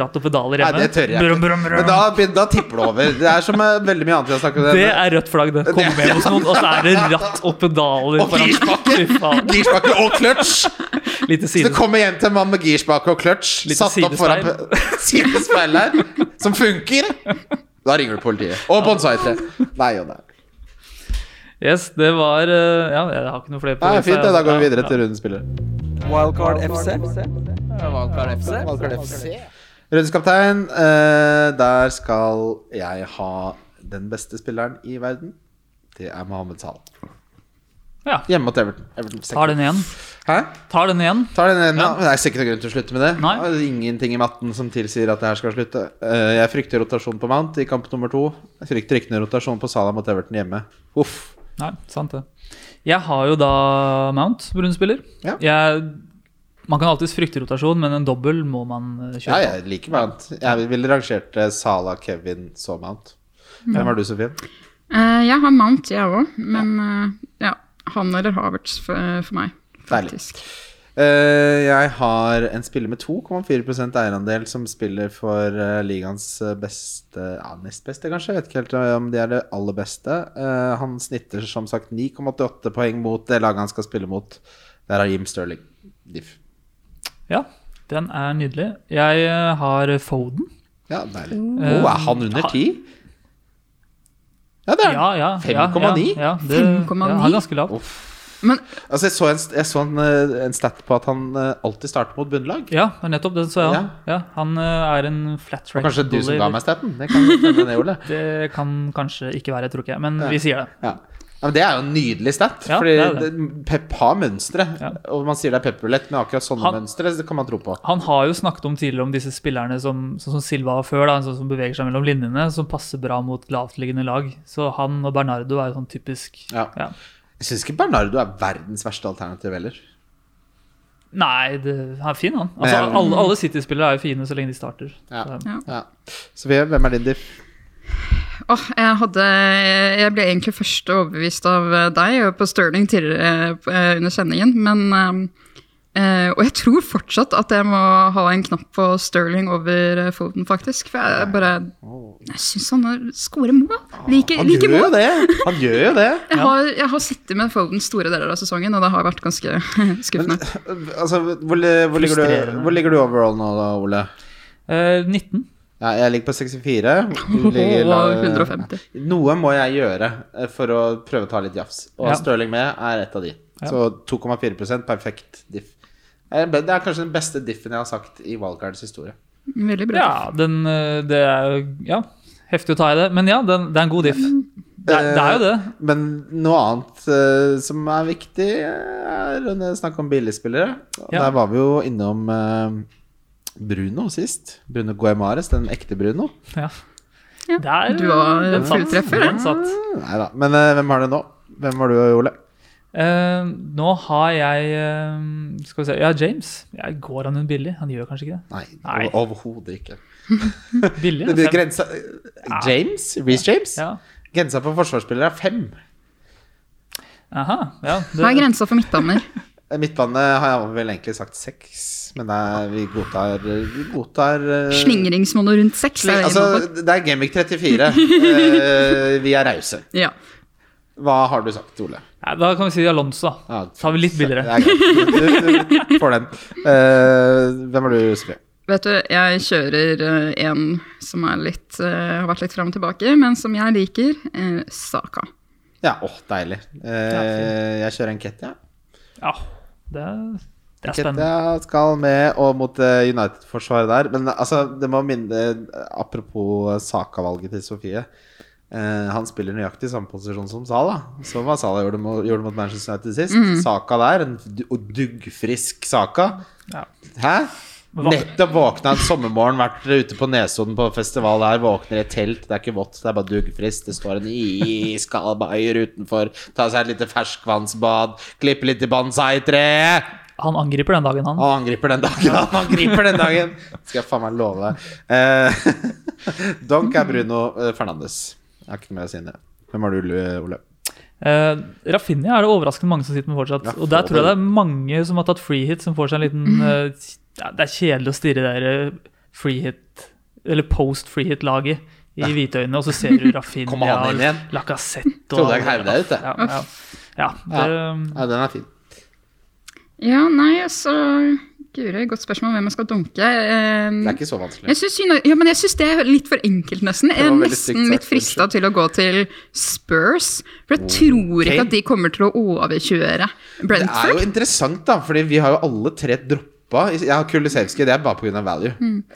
ratt og pedaler
Nei,
hjemme.
det tør jeg ikke.
Brum, brum, brum.
Men da, begyn- da tipper det over. Det er som eh, veldig mye annet vi har snakket om.
Det
Det
er rødt flagg, det. Kom hjem hos noen, og så er det ratt og pedaler.
Og
foran.
girspakke.
Fy faen.
Girspakke og clutch!
Lite
Så
side.
du kommer hjem til en mann med girspakke og clutch
Lite
satt opp foran pe- sidespeil her, som funker. Da ringer du politiet. Og bonsai-tre. Nei og nei.
Yes, det var eh, Ja, jeg har ikke noe flere på
Nei,
det, så
fint, det.
jeg-
Da går vi videre
ja,
til rundens spiller.
Wildcard FC. Wildcard FC.
Rundens kaptein, eh, der skal jeg ha den beste spilleren i verden. Det er Mohammed Salah.
Ja.
Hjemme mot Everton. Everton
ja. Tar den igjen.
Hæ?
Tar den igjen.
Tar den ene, men Det er sikkert noen grunn til å slutte med det.
Nei.
Det er Ingenting i matten som tilsier at det her skal slutte. Eh, jeg frykter rotasjon på Mount i kamp nummer to. Jeg frykter ikke noen rotasjon på Salah mot Everton hjemme. Uff.
Nei, sant det. Jeg har jo da Mount, brunspiller.
Ja.
Jeg Man kan alltids frykte rotasjon, men en dobbel må man eh, kjøre.
Ja, jeg liker Mount. Jeg ville rangert eh, Salah, Kevin, så Mount. Hvem var du, Sofie?
Eh, jeg har Mount, jeg òg, men eh, ja, han eller Havertz for, for meg,
Deilig.
faktisk.
Eh, jeg har en spiller med 2,4 eierandel som spiller for eh, ligaens eh, beste Ja, nest beste, kanskje. Jeg vet ikke helt eh, om de er det aller beste. Eh, han snitter som sagt 9,88 poeng mot det laget han skal spille mot. Der har Jim Sterling. Diff.
Ja, den er nydelig. Jeg eh, har Foden.
Ja, deilig. Oh, er han under 10? Ja, det er han.
Ja, ja, ja,
5,9?
Ja, ja, det-
5,9?
Ja, han er ganske lav.
Men
Altså, jeg så, en, jeg så en, eh, en stat på at han eh, alltid starter mot bunnlag.
Ja, det er nettopp det så jeg.
Ja.
Ja. Ja, han eh, er en flat
Og
track.
kanskje du som
goalie.
ga meg staten. Det kan godt hende, det, Ole.
Det kan kanskje ikke være, tror ikke jeg, men
Ja.
vi sier det.
Ja. Ja, men Det er jo en nydelig stat.
Ja,
fordi
det er det.
det- Pep har mønstre.
Ja.
Og man sier det er pepperlett, men akkurat sånne
Han-
mønstre det kan man tro på.
Han har jo snakket om tidligere om disse spillerne som, sånn som Silva var før, da, sånn som beveger seg mellom linjene, som passer bra mot lavtliggende lag. Så han og Bernardo er jo sånn typisk
Ja.
ja.
Jeg syns ikke Bernardo er verdens verste alternativ heller.
Nei, det, han er fin, han.
Men
Altså,
jeg-
alle alle City-spillere er jo fine så lenge de starter.
Ja.
Så-
Ja. Sofie, hvem er din diff?
åh, jeg hadde Jeg ble egentlig først overbevist av eh, deg og på Sterling tidligere eh, på- eh, under sendingen, men eh, eh, og jeg tror fortsatt at jeg må ha en knapp på Sterling over eh, Foden, faktisk. For jeg bare Jeg syns han har- scorer mål. Liker
Han
like
gjør jo
mål.
det! Han gjør jo det.
Jeg har, jeg har sittet med Foden store deler av sesongen, og det har vært ganske skuffende.
Altså, hvor, hvor, ligger du,
Frustrerende.
hvor ligger du overall nå, da, Ole?
Eh, 19.
Ja, jeg ligger på 64. Du ligger
Og
la-
150.
Noe må jeg gjøre eh, for å prøve å ta litt jafs. Og
Ja.
Stirling med er et av de. Så 2,4 perfekt diff. Eh, men Det er kanskje den beste diffen jeg har sagt i Wildcards historie.
Veldig bra.
Ja, den eh, Det er jo Ja, heftig å ta i det. Men ja, den, det er en god diff. Det, er- det er jo det.
Men noe annet eh, som er viktig, eh, er å snakke om billigspillere. Og
Ja.
Der var vi jo innom eh, Bruno sist. Bruno Guemares, den ekte Bruno.
Ja.
Ja,
Der,
du var
den
en
satt.
fulltreffer,
Den satt.
Nei da. Men eh, hvem har det nå? Hvem har du, Ole?
Eh, nå har jeg eh, Skal vi se Ja, James. Ja, går han en billig? Han gjør kanskje ikke det?
Nei,
Nei.
overhodet ikke.
Billig?
Det blir
fem.
grensa James? Reece James?
Ja.
Grensa for forsvarsspillere er fem.
Aha, ja,
Hva er
det,
grensa for midtbaner?
Midtbane har jeg vel egentlig sagt seks, men det er, vi godtar, vi godtar eh,
Slingringsmonno rundt seks?
Sling,
er det innenfor?
altså, det er Gamic 34. Eh, vi er rause.
ja.
Hva har du sagt, Ole?
Nei, da kan vi si Alonso, da.
Ah,
Tar vi litt billigere.
det er greit. Du, du, du får den. Eh, hvem er du, Sofie?
Vet du, jeg kjører eh, en som er litt, eh, har vært litt fram og tilbake, men som jeg liker. eh, Saka.
Ja, åh, deilig. Eh, jeg kjører en Ketty, jeg.
Ja, det er, det er spennende.
Ketia skal med og mot eh, United-forsvaret der. Men altså, det må minne eh, Apropos Saka-valget til Sofie. Eh, han spiller nøyaktig samme posisjon som Sala. Som hva Sala gjorde mot, gjorde mot Manchester United sist.
Mm.
Saka der, en du- og duggfrisk Saka.
Ja.
Hæ?
Hva-
Nettopp våkna en sommermorgen, vært ute på Nesodden på festival der, våkner i et telt, det er ikke vått, det er bare duggfriskt. Det står en iskald bayer utenfor, ta seg et lite ferskvannsbad, klippe litt i bonsai-treet.
Han angriper den dagen, han.
Han angriper den dagen, han angriper den dagen! Skal jeg faen meg love. Eh, Donk er Bruno eh, Fernandes. Jeg har ikke noe mer å si enn det. Hvem har du, Lu- Ole?
Eh, Rafinha er det overraskende mange som sitter med fortsatt.
Ja,
og der
få
tror
det.
jeg det er mange som har tatt free hit, som får seg en liten
Mm.
eh, ja, Det er kjedelig å stirre det der eh, free hit, eller post free hit-laget i hvitøynene, og så ser du
Kommer
Rafinha
han inn igjen?
Lacassette og
Trodde jeg heiv deg ut, jeg.
Ja, ja. ja, det,
Ja, den er fin.
Ja, nei, altså Guri, godt spørsmål hvem jeg skal dunke. Eh,
Det er ikke så vanskelig.
Jeg syns ja, men jeg synes det er litt for enkelt, nesten. Jeg er
var veldig stygt
nesten litt
sagt,
frista til å gå til Spurs. For jeg tror ikke at de kommer til å overkjøre
Det er jo
Brentford.
interessant, da, Fordi vi har jo alle tre droppa. Jeg har Kulisevskij, det er bare pga.
Mm.
value.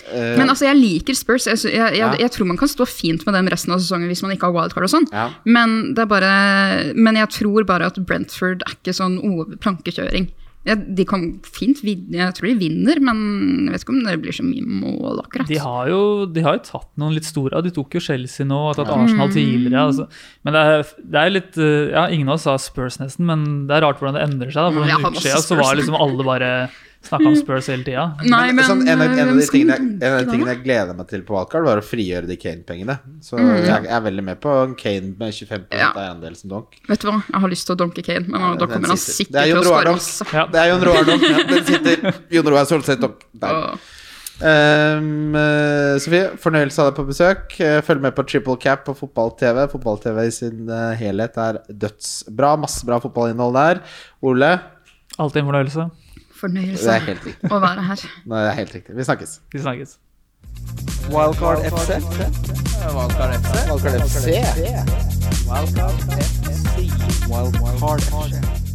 Eh,
Men altså, jeg liker Spurs. Jeg, sy- jeg,
Ja.
jeg, jeg tror man kan stå fint med dem resten av sesongen hvis man ikke har wildcard og sånn.
Ja.
Men, det er bare, men jeg tror bare at Brentford er ikke sånn over plankekjøring. Jeg, de kan fint vinne, jeg tror de vinner, men jeg vet ikke om det blir så mye mål, akkurat.
de har jo de har jo tatt noen litt store De tok jo Chelsea nå og tatt
Mm.
Arsenal tidligere. Altså. Men det er, det er litt eh, Ja, ingen av oss sa Spurs nesten, men det er rart hvordan det endrer seg. Da. For
Mm,
noen
jeg har
uker
masse
siden så
Spurs.
var liksom alle bare Snakka om Spurs hele tida.
Nei, men eh,
sånn, en, av, en, av
hvem
de
skal-
tingene jeg, en av de tingene jeg gleder meg til på valgkart, var å frigjøre de Kane-pengene. Så jeg, jeg er veldig med på Kane med 25
Mm. Ja.
av eiendel som donk.
Vet du hva, jeg har lyst til å donke Kane, men da
den
kommer han
sitter.
sikkert
Det er
til
Jon
å
Roar
skåre
donk.
masse.
Ja.
Det er Jon Roar donk. Ja, den sitter. Jon Roar Solseth donk. Der.
Og-
Ehm, eh, Sofie, fornøyelse av deg på besøk. Eh, Følg med på Triple Cap på fotball-TV. Fotball-TV i sin eh, helhet er dødsbra. Masse bra fotballinnhold der. Ole,
Alltid en fornøyelse.
det er
Fornøyelse
helt riktig.
å være her.
Nei, det er helt riktig. Vi snakkes.
Vi snakkes.
Wildcard FC. Wildcard FC.
Valgkart FC.
Wildcard FC. Wildcard FC.